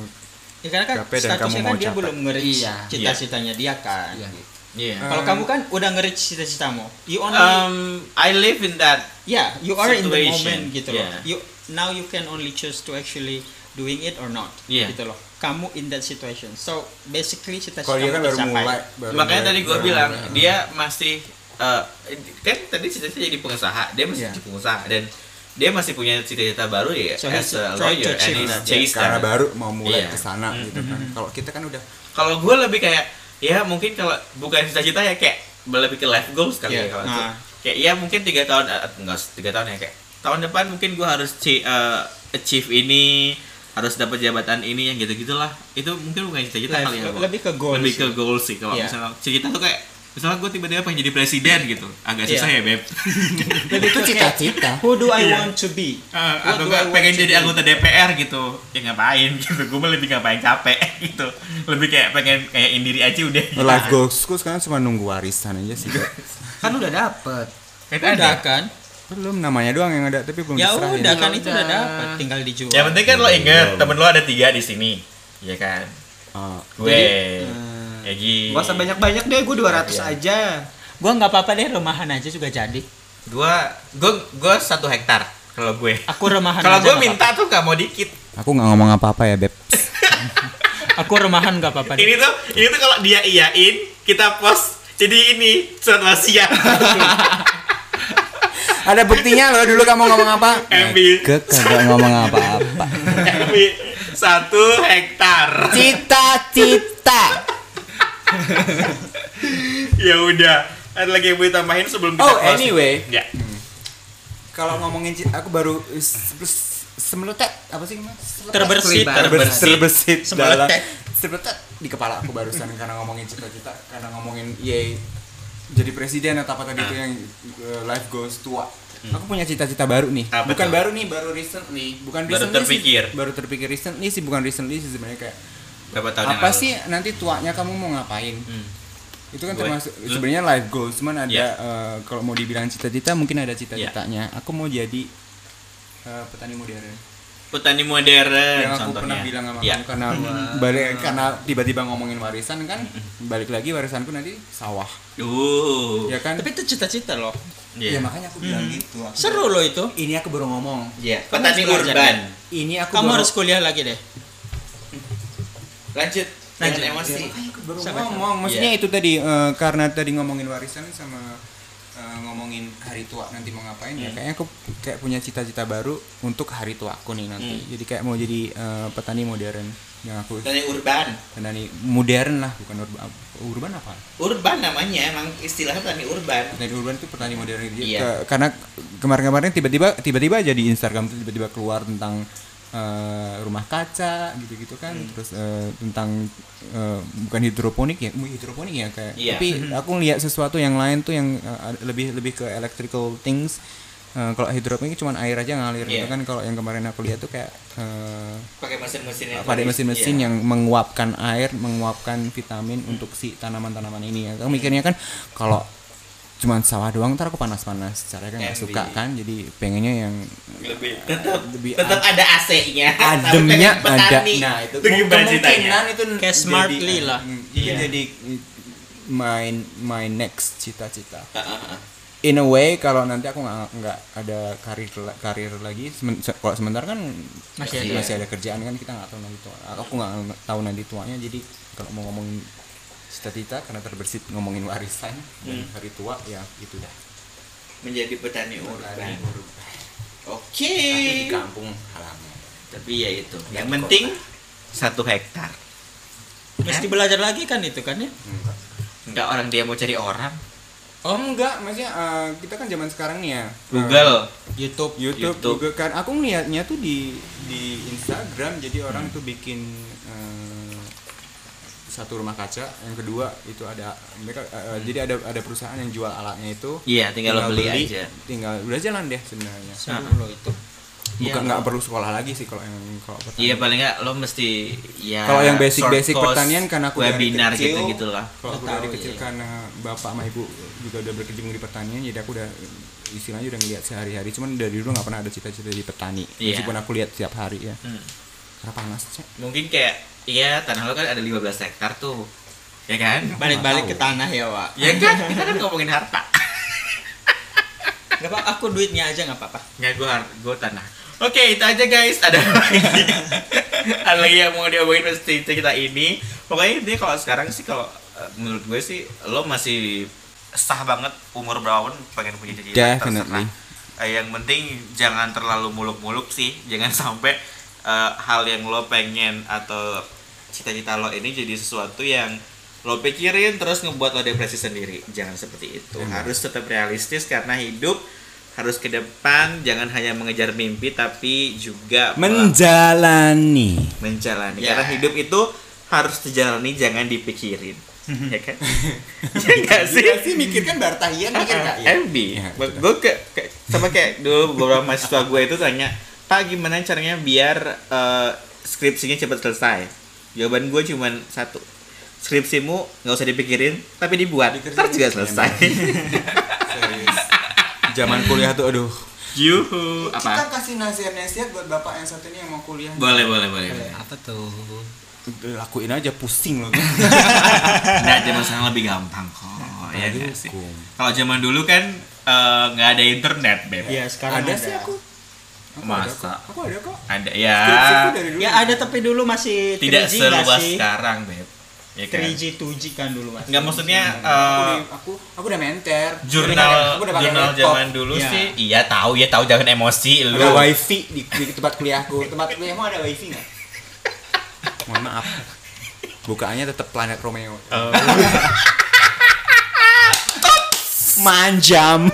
S4: ya karena kan
S3: Capek dan kamu
S4: statusnya
S3: mau
S4: kan dia
S3: capek.
S4: belum nge-reach
S5: Iya.
S4: cita-citanya dia kan
S5: Iya.
S1: Yeah.
S4: kalau kamu kan udah nge-reach cita-citamu you only
S1: Um, I live in that.
S4: yeah you are in the
S1: Situation.
S4: moment gitu loh
S1: Yeah.
S4: you now you can only choose to actually doing it or not
S1: Yeah.
S4: gitu loh kamu in that situation so basically cita-cita
S3: kalau dia kan
S4: kamu
S3: baru
S4: tercapai.
S3: mulai baru
S1: Makanya
S3: mulai,
S1: tadi gue
S3: baru
S1: bilang
S3: mulai.
S1: dia masih eh, kan tadi cita-cita jadi pengusaha. Dia masih
S3: Iya.
S1: jadi pengusaha dan dia masih punya cita-cita baru ya
S4: So,
S1: as
S4: he's trying
S1: a
S4: to
S1: lawyer and
S4: achieve
S1: he's
S4: that.
S1: chased
S3: Iya, karena
S1: that.
S3: baru mau mulai
S1: Iya. Mm-hmm.
S3: ke sana gitu kan kalau kita kan udah
S1: Kalau gue lebih kayak ya mungkin kalau bukan cita-cita ya kayak lebih ke life goals kali
S4: Iya.
S1: ya kalau itu.
S4: Nah.
S1: Kayak ya mungkin tiga tahun eh, enggak tiga tahun ya kayak tahun depan mungkin gue harus ci- eh, achieve ini harus dapat jabatan ini yang gitu-gitulah itu mungkin bukan cita-cita
S4: Life-
S1: kali ya Bo.
S4: lebih ke goals
S1: lebih ke
S4: sih.
S1: goal sih kalau
S4: Iya.
S1: misalnya cerita tuh kayak misalnya gue tiba-tiba pengen jadi presiden gitu agak susah ya beb
S4: Iya. Lebih
S3: itu
S4: ke kayak,
S3: cita-cita
S4: who do I
S1: Iya.
S4: want to be
S1: Eh,
S4: What do
S1: atau gue
S4: I want
S1: pengen
S4: to
S1: jadi
S4: be?
S1: anggota DPR gitu ya ngapain gitu gue mah lebih ngapain capek gitu lebih kayak pengen kayak indiri aja udah gitu.
S3: life goalsku sekarang cuma nunggu warisan aja sih Kak.
S5: kan udah dapet
S1: Kan ada.
S4: udah kan
S3: belum namanya doang yang ada tapi belum
S4: ya
S3: diserahin.
S4: udah kan itu udah
S5: Udah.
S4: dapat tinggal dijual
S1: yang penting kan lo inget temen lo ada tiga di sini ya kan
S3: Ah,
S1: gue
S5: eh,
S1: Egi
S5: gak usah banyak banyak deh gue 200 aja
S4: Iya. gua nggak apa-apa deh rumahan aja juga jadi
S1: gue gue gue satu hektar kalau gue
S4: aku rumahan
S1: kalau
S4: aja
S1: gue
S4: nggak
S1: minta tuh gak mau dikit
S3: aku nggak ngomong apa-apa ya beb
S4: apa-apa. aku rumahan nggak apa-apa deh.
S1: ini tuh ini tuh kalau dia iyain kita post jadi ini surat wasiat
S3: ada buktinya loh dulu kamu ngomong apa
S1: Ambil.
S3: ke kagak ngomong apa-apa
S1: Tapi satu hektar
S3: cita-cita
S1: ya udah ada lagi yang boleh tambahin sebelum kita
S3: Oh,
S1: closing?
S3: anyway.
S1: ya
S3: kalau ngomongin ci- aku baru s- s- semeletet apa sih mas
S4: terbersih
S5: Terlibat.
S3: Terber-
S1: Terbersih.
S3: terbesit dalam
S4: Semeletet.
S3: terbetet di kepala aku barusan karena ngomongin cita-cita karena ngomongin yay jadi presiden atau apa tadi
S1: Ah.
S3: itu yang uh, life goals tua
S1: Hmm.
S3: aku punya cita-cita baru nih
S1: Apa
S3: bukan
S1: tuh?
S3: baru nih baru recently bukan
S1: Ah, Baru
S3: recently sih.
S1: terpikir.
S3: baru terpikir recently sih bukan recently sih sebenarnya kayak
S1: berapa tahun yang
S3: apa
S1: lalu?
S3: sih nanti tuanya kamu mau ngapain
S1: Hmm.
S3: itu kan
S1: Gue-
S3: termasuk
S1: lu-
S3: sebenarnya life goals cuman ada
S1: Iya.
S3: eh, kalau mau dibilang cita-cita mungkin ada cita-citanya
S1: Ya.
S3: aku mau jadi eh, petani modern
S1: petani modern
S3: yang aku
S1: contohnya
S3: pernah bilang sama
S1: ya.
S3: kamu karena balik karena tiba-tiba ngomongin warisan kan balik lagi warisanku nanti sawah
S1: Uh,
S3: ya kan
S4: tapi itu cita-cita loh
S3: ya
S1: iya.
S3: makanya aku bilang gitu aku
S4: seru loh itu
S3: bilang, ini aku baru ngomong
S1: Iya,
S4: Kamu
S1: petani
S4: harus belajar,
S1: urban.
S3: ini aku
S4: kamu
S3: baru,
S4: harus kuliah lagi deh
S1: Lanjut,
S4: Lanjut.
S3: Iya,
S1: Jangan emosi.
S3: Makanya aku baru
S4: Sama-sama.
S3: ngomong maksudnya itu tadi eh, karena tadi ngomongin warisan sama eh, ngomongin hari tua nanti mau ngapain ya kayaknya aku kayak punya cita-cita baru untuk hari tua aku nih nanti jadi kayak mau jadi eh, petani modern yang aku
S1: Petani urban.
S3: petani modern lah bukan urban urban apa
S1: Urban namanya emang istilahnya petani urban.
S3: petani urban itu petani modern gitu.
S1: Iya.
S3: Ke- karena kemarin-kemarin tiba-tiba tiba-tiba aja di Instagram tuh tiba-tiba keluar tentang eh, rumah kaca gitu-gitu kan
S1: Hmm.
S3: terus eh, tentang eh, bukan hidroponik ya mu- hidroponik ya kayak
S1: Iya.
S3: tapi aku lihat sesuatu yang lain tuh yang eh, ad- lebih lebih ke electrical things Eh, kalau hidroponik cuma air aja ngalir gitu
S1: Iya.
S3: kan kalau yang kemarin aku lihat tuh kayak eh,
S1: Pakai mesin-mesin yang
S3: pada mesin-mesin yang menguapkan air, menguapkan vitamin untuk si tanaman-tanaman ini ya. Kamu mikirnya kan kalau cuman sawah doang ntar aku panas-panas, caranya kan nggak
S1: Embi.
S3: suka kan, jadi pengennya yang
S1: lebih tetap
S3: Lebih
S1: tetap ada AC-nya.
S3: ademnya
S1: Tapi pengen
S3: ada.
S1: petani.
S3: Nah itu
S1: Itu gimana ceritanya?
S3: kemungkinan itu
S4: Kayak
S3: jadi-
S4: smartly lah.
S3: Mm, Itu
S1: Iya.
S3: jadi my my next cita-cita.
S1: Ah, ah, ah.
S3: in a way kalau nanti aku nggak nggak ada karir la- karir lagi semen- se- kalau sebentar kan masih,
S8: ada.
S3: ada kerjaan kan kita nggak tahu nanti tua aku nggak tahu nanti tuanya jadi kalau mau ngomong cita-cita karena terbersit ngomongin warisan dan
S1: Hmm.
S3: hari tua ya itu dah
S1: menjadi petani urban. Oke.
S3: Tapi di kampung halaman
S1: Tapi ya itu. Yang penting satu hektar. Eh?
S4: Mesti belajar lagi kan itu kan ya?
S3: Hmm.
S4: Hmm.
S1: Enggak orang dia mau cari orang.
S3: oh enggak maksudnya eh, kita kan zaman sekarang nih ya eh,
S1: Google.
S3: YouTube, YouTube,
S1: YouTube.
S3: Google kan. Aku ngeliatnya tuh di di Instagram. Jadi
S1: Hmm.
S3: orang tuh bikin eh, satu rumah kaca. Yang kedua itu ada mereka. eh, eh, Jadi ada ada perusahaan yang jual alatnya itu.
S1: Hmm. Iya, tinggal, lo beli, aja.
S3: Tinggal udah jalan deh sebenarnya.
S1: Nah,
S4: Lo itu.
S3: Bukan nggak perlu sekolah lagi sih kalau yang kalau pertanian.
S1: Iya paling nggak lo mesti ya.
S3: Kalau yang basic-basic
S1: short course,
S3: pertanian kan aku dari
S1: webinar
S3: kecil.
S1: gitu gitulah.
S3: Kalau aku iya. dari kecil karena bapak sama ibu juga udah berkecimpung di pertanian, jadi aku udah istilahnya udah ngeliat sehari-hari. Cuman dari dulu nggak pernah ada cita-cita jadi petani.
S1: Iya.
S3: Meskipun aku lihat tiap hari ya.
S1: Hmm.
S3: Karena panas cek.
S1: Mungkin kayak iya tanah lo kan ada 15 hektar tuh. Ya kan?
S4: Balik-balik ke tanah ya, Wak.
S1: Ya kan? Kita kan ngomongin harta.
S4: Gak apa aku duitnya aja nggak apa-apa.
S1: Nggak gue gue tanah. Oke itu aja guys. Ada apa lagi? ada lagi yang mau diomongin mesti kita ini. Pokoknya ini kalau sekarang sih kalau eh, menurut gue sih lo masih sah banget umur berapa pun pengen punya cita-cita
S3: Definitely.
S1: terserah. Eh, yang penting jangan terlalu muluk-muluk sih jangan sampai eh, hal yang lo pengen atau cita-cita lo ini jadi sesuatu yang lo pikirin terus ngebuat lo depresi sendiri jangan seperti itu harus tetap realistis karena hidup harus ke depan jangan hanya mengejar mimpi tapi juga me-
S3: Menjalani.
S1: menjalani karena hidup itu harus dijalani jangan dipikirin ya kan ya nggak sih
S3: Iya sih mikir kan bar tahian
S4: Iya,
S3: mikir nggak?
S1: MB
S3: Ya, gitu.
S1: gue ke, ke- sama kayak dulu beberapa mahasiswa gue itu tanya pak gimana caranya biar eh, skripsinya cepat selesai jawaban gue cuman satu skripsimu nggak usah dipikirin tapi dibuat ntar juga selesai
S3: Iya, Zaman kuliah tuh aduh.
S1: yuhu
S3: Kita
S1: apa
S3: kan kasih nasihat-nasihat buat bapak yang satu ini yang mau kuliah.
S1: boleh boleh boleh
S3: Iya.
S5: apa tuh
S3: Lakuin aja pusing loh.
S1: nah zaman sekarang lebih gampang kok ya nggak
S3: Iya,
S1: sih
S3: Hukum.
S1: kalau zaman dulu kan eh, nggak ada internet beb
S4: Iya, sekarang
S3: ada sih aku. Aku ada kok.
S1: Masa?
S3: Aku ada kok.
S1: ada ya
S3: Skripsiku dari dulu.
S4: Ya ada tapi dulu masih 3G
S1: tidak
S4: nggak
S1: seluas
S4: sih?
S1: sekarang beb ya kan
S4: 3G, 2G kan dulu masih.
S1: nggak maksudnya
S3: aku,
S1: eh,
S3: udah- aku aku udah menter
S1: jurnal
S3: aku udah pakai
S1: jurnal
S3: laptop.
S1: zaman dulu
S4: Iya.
S1: sih iya tahu ya tahu jangan emosi lu
S3: ada wifi di, di tempat kuliahku tempat kuliahmu ada wifi nggak mohon maaf bukaannya tetap planet Romeo
S1: Oh.
S3: manjam